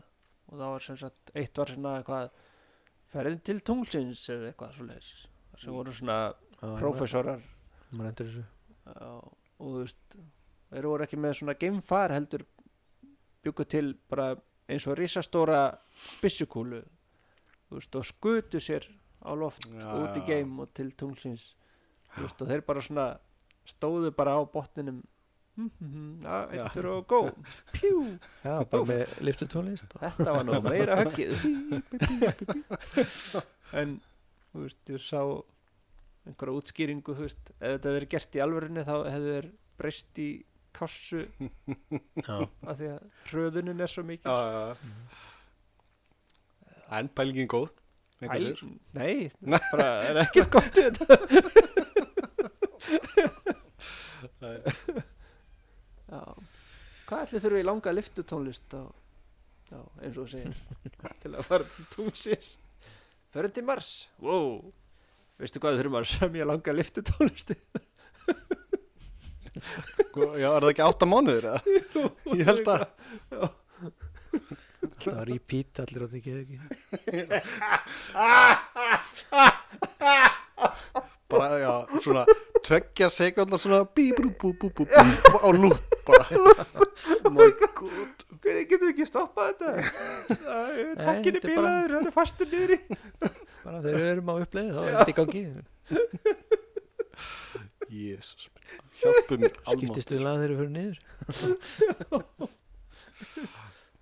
Speaker 1: og það var sem sagt eitt var svona eitthvað ferðin til tunglsins eða eitthvað svoleiðis
Speaker 3: Mm.
Speaker 1: sem voru svona prófessorar
Speaker 2: maður endur þessu
Speaker 1: Já, og þú veist þeir voru ekki með svona geimfar heldur byggu til bara eins og risastóra byssukúlu þú veist, og skutu sér á loft
Speaker 3: Já,
Speaker 1: út í
Speaker 3: já.
Speaker 1: geim og til tunglsins þú veist, og þeir bara svona stóðu bara á botninum Hmm, ja,
Speaker 3: Já.
Speaker 1: eittur og gó pjú,
Speaker 2: já, bara með liftutónlist og
Speaker 1: þetta var nú meira höggið en þú veist, ég sá einhverja útskýringu, þú veist ef þetta verið gert í alvörinu þá hefði þeir breyst í kassu
Speaker 2: já,
Speaker 1: af því að hröðunin er svo mikil
Speaker 3: Já, já, já. en pælingin góð
Speaker 1: Æ,
Speaker 3: einhver sér.
Speaker 1: nei,
Speaker 3: Nei.
Speaker 1: bara er ekkert gott við þetta
Speaker 3: Nei.
Speaker 1: Já. hvað ætli þurfum við langa liftutónlist á, á eins og þú segir til að fara til tungsins fyrir til Mars wow. veistu hvað þurfum að semja langa liftutónlist
Speaker 3: Sko, já, er það ekki átta mánuðir eða? ég held að
Speaker 2: alltaf að repeat allir á því geðu ekki
Speaker 3: bara, já, svona tveggja sekundar svona bí, brú, bú, bú, bú, bú, á lúp bara oh my god
Speaker 1: hvernig getum við ekki stoppað þetta
Speaker 2: takkin er
Speaker 1: takkinni
Speaker 2: þetta er bara-
Speaker 1: bílaður, hann er fastur niður
Speaker 2: bara þegar við erum á uppleið þá er þetta í gangi
Speaker 3: jésus, hjálpu mér almátt
Speaker 2: skiptist við laga þegar við fyrir niður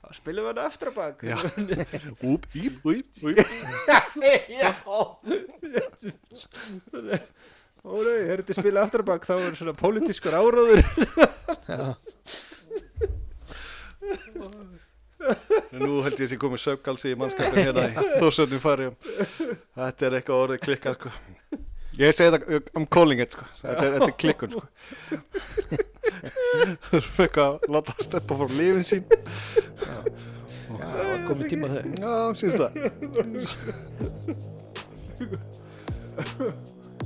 Speaker 1: þá spilum við hann aftur á bak
Speaker 3: Já. úp, íp, íp, íp
Speaker 1: Ólei, er þetta spila aftur á bak þá er svona pólitískur áróður
Speaker 3: Nú held ég að ég komið söfgalsi í mannskapin hérna í þósöndum farið Þetta er eitthvað orðið klikkað sko Ég segi það, I'm calling it sko Þetta er, þetta er klikkun sko Það er eitthvað að láta að steppa frá lífin sín
Speaker 2: já, það var komið tíma á þau
Speaker 3: Já, síðst það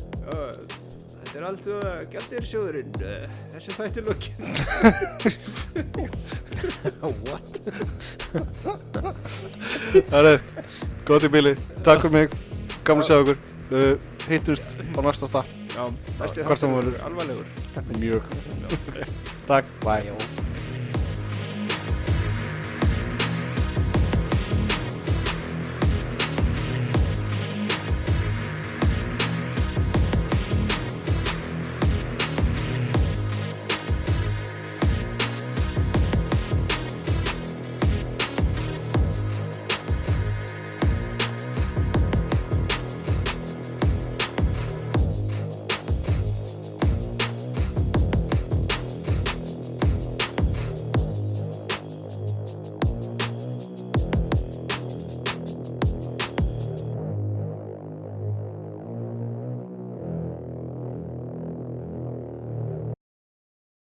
Speaker 1: Þetta er allt því að gældir sjóðurinn þessu þætti lokið
Speaker 3: Það er, gott í bíli, takk fyrir mig Gaman að sjá ykkur uh, Hittust á næsta stað
Speaker 1: Já, besti
Speaker 3: Hvort sem
Speaker 1: þáttur,
Speaker 3: voru.
Speaker 1: alvarlegur
Speaker 3: mjög takk, bye
Speaker 2: Já.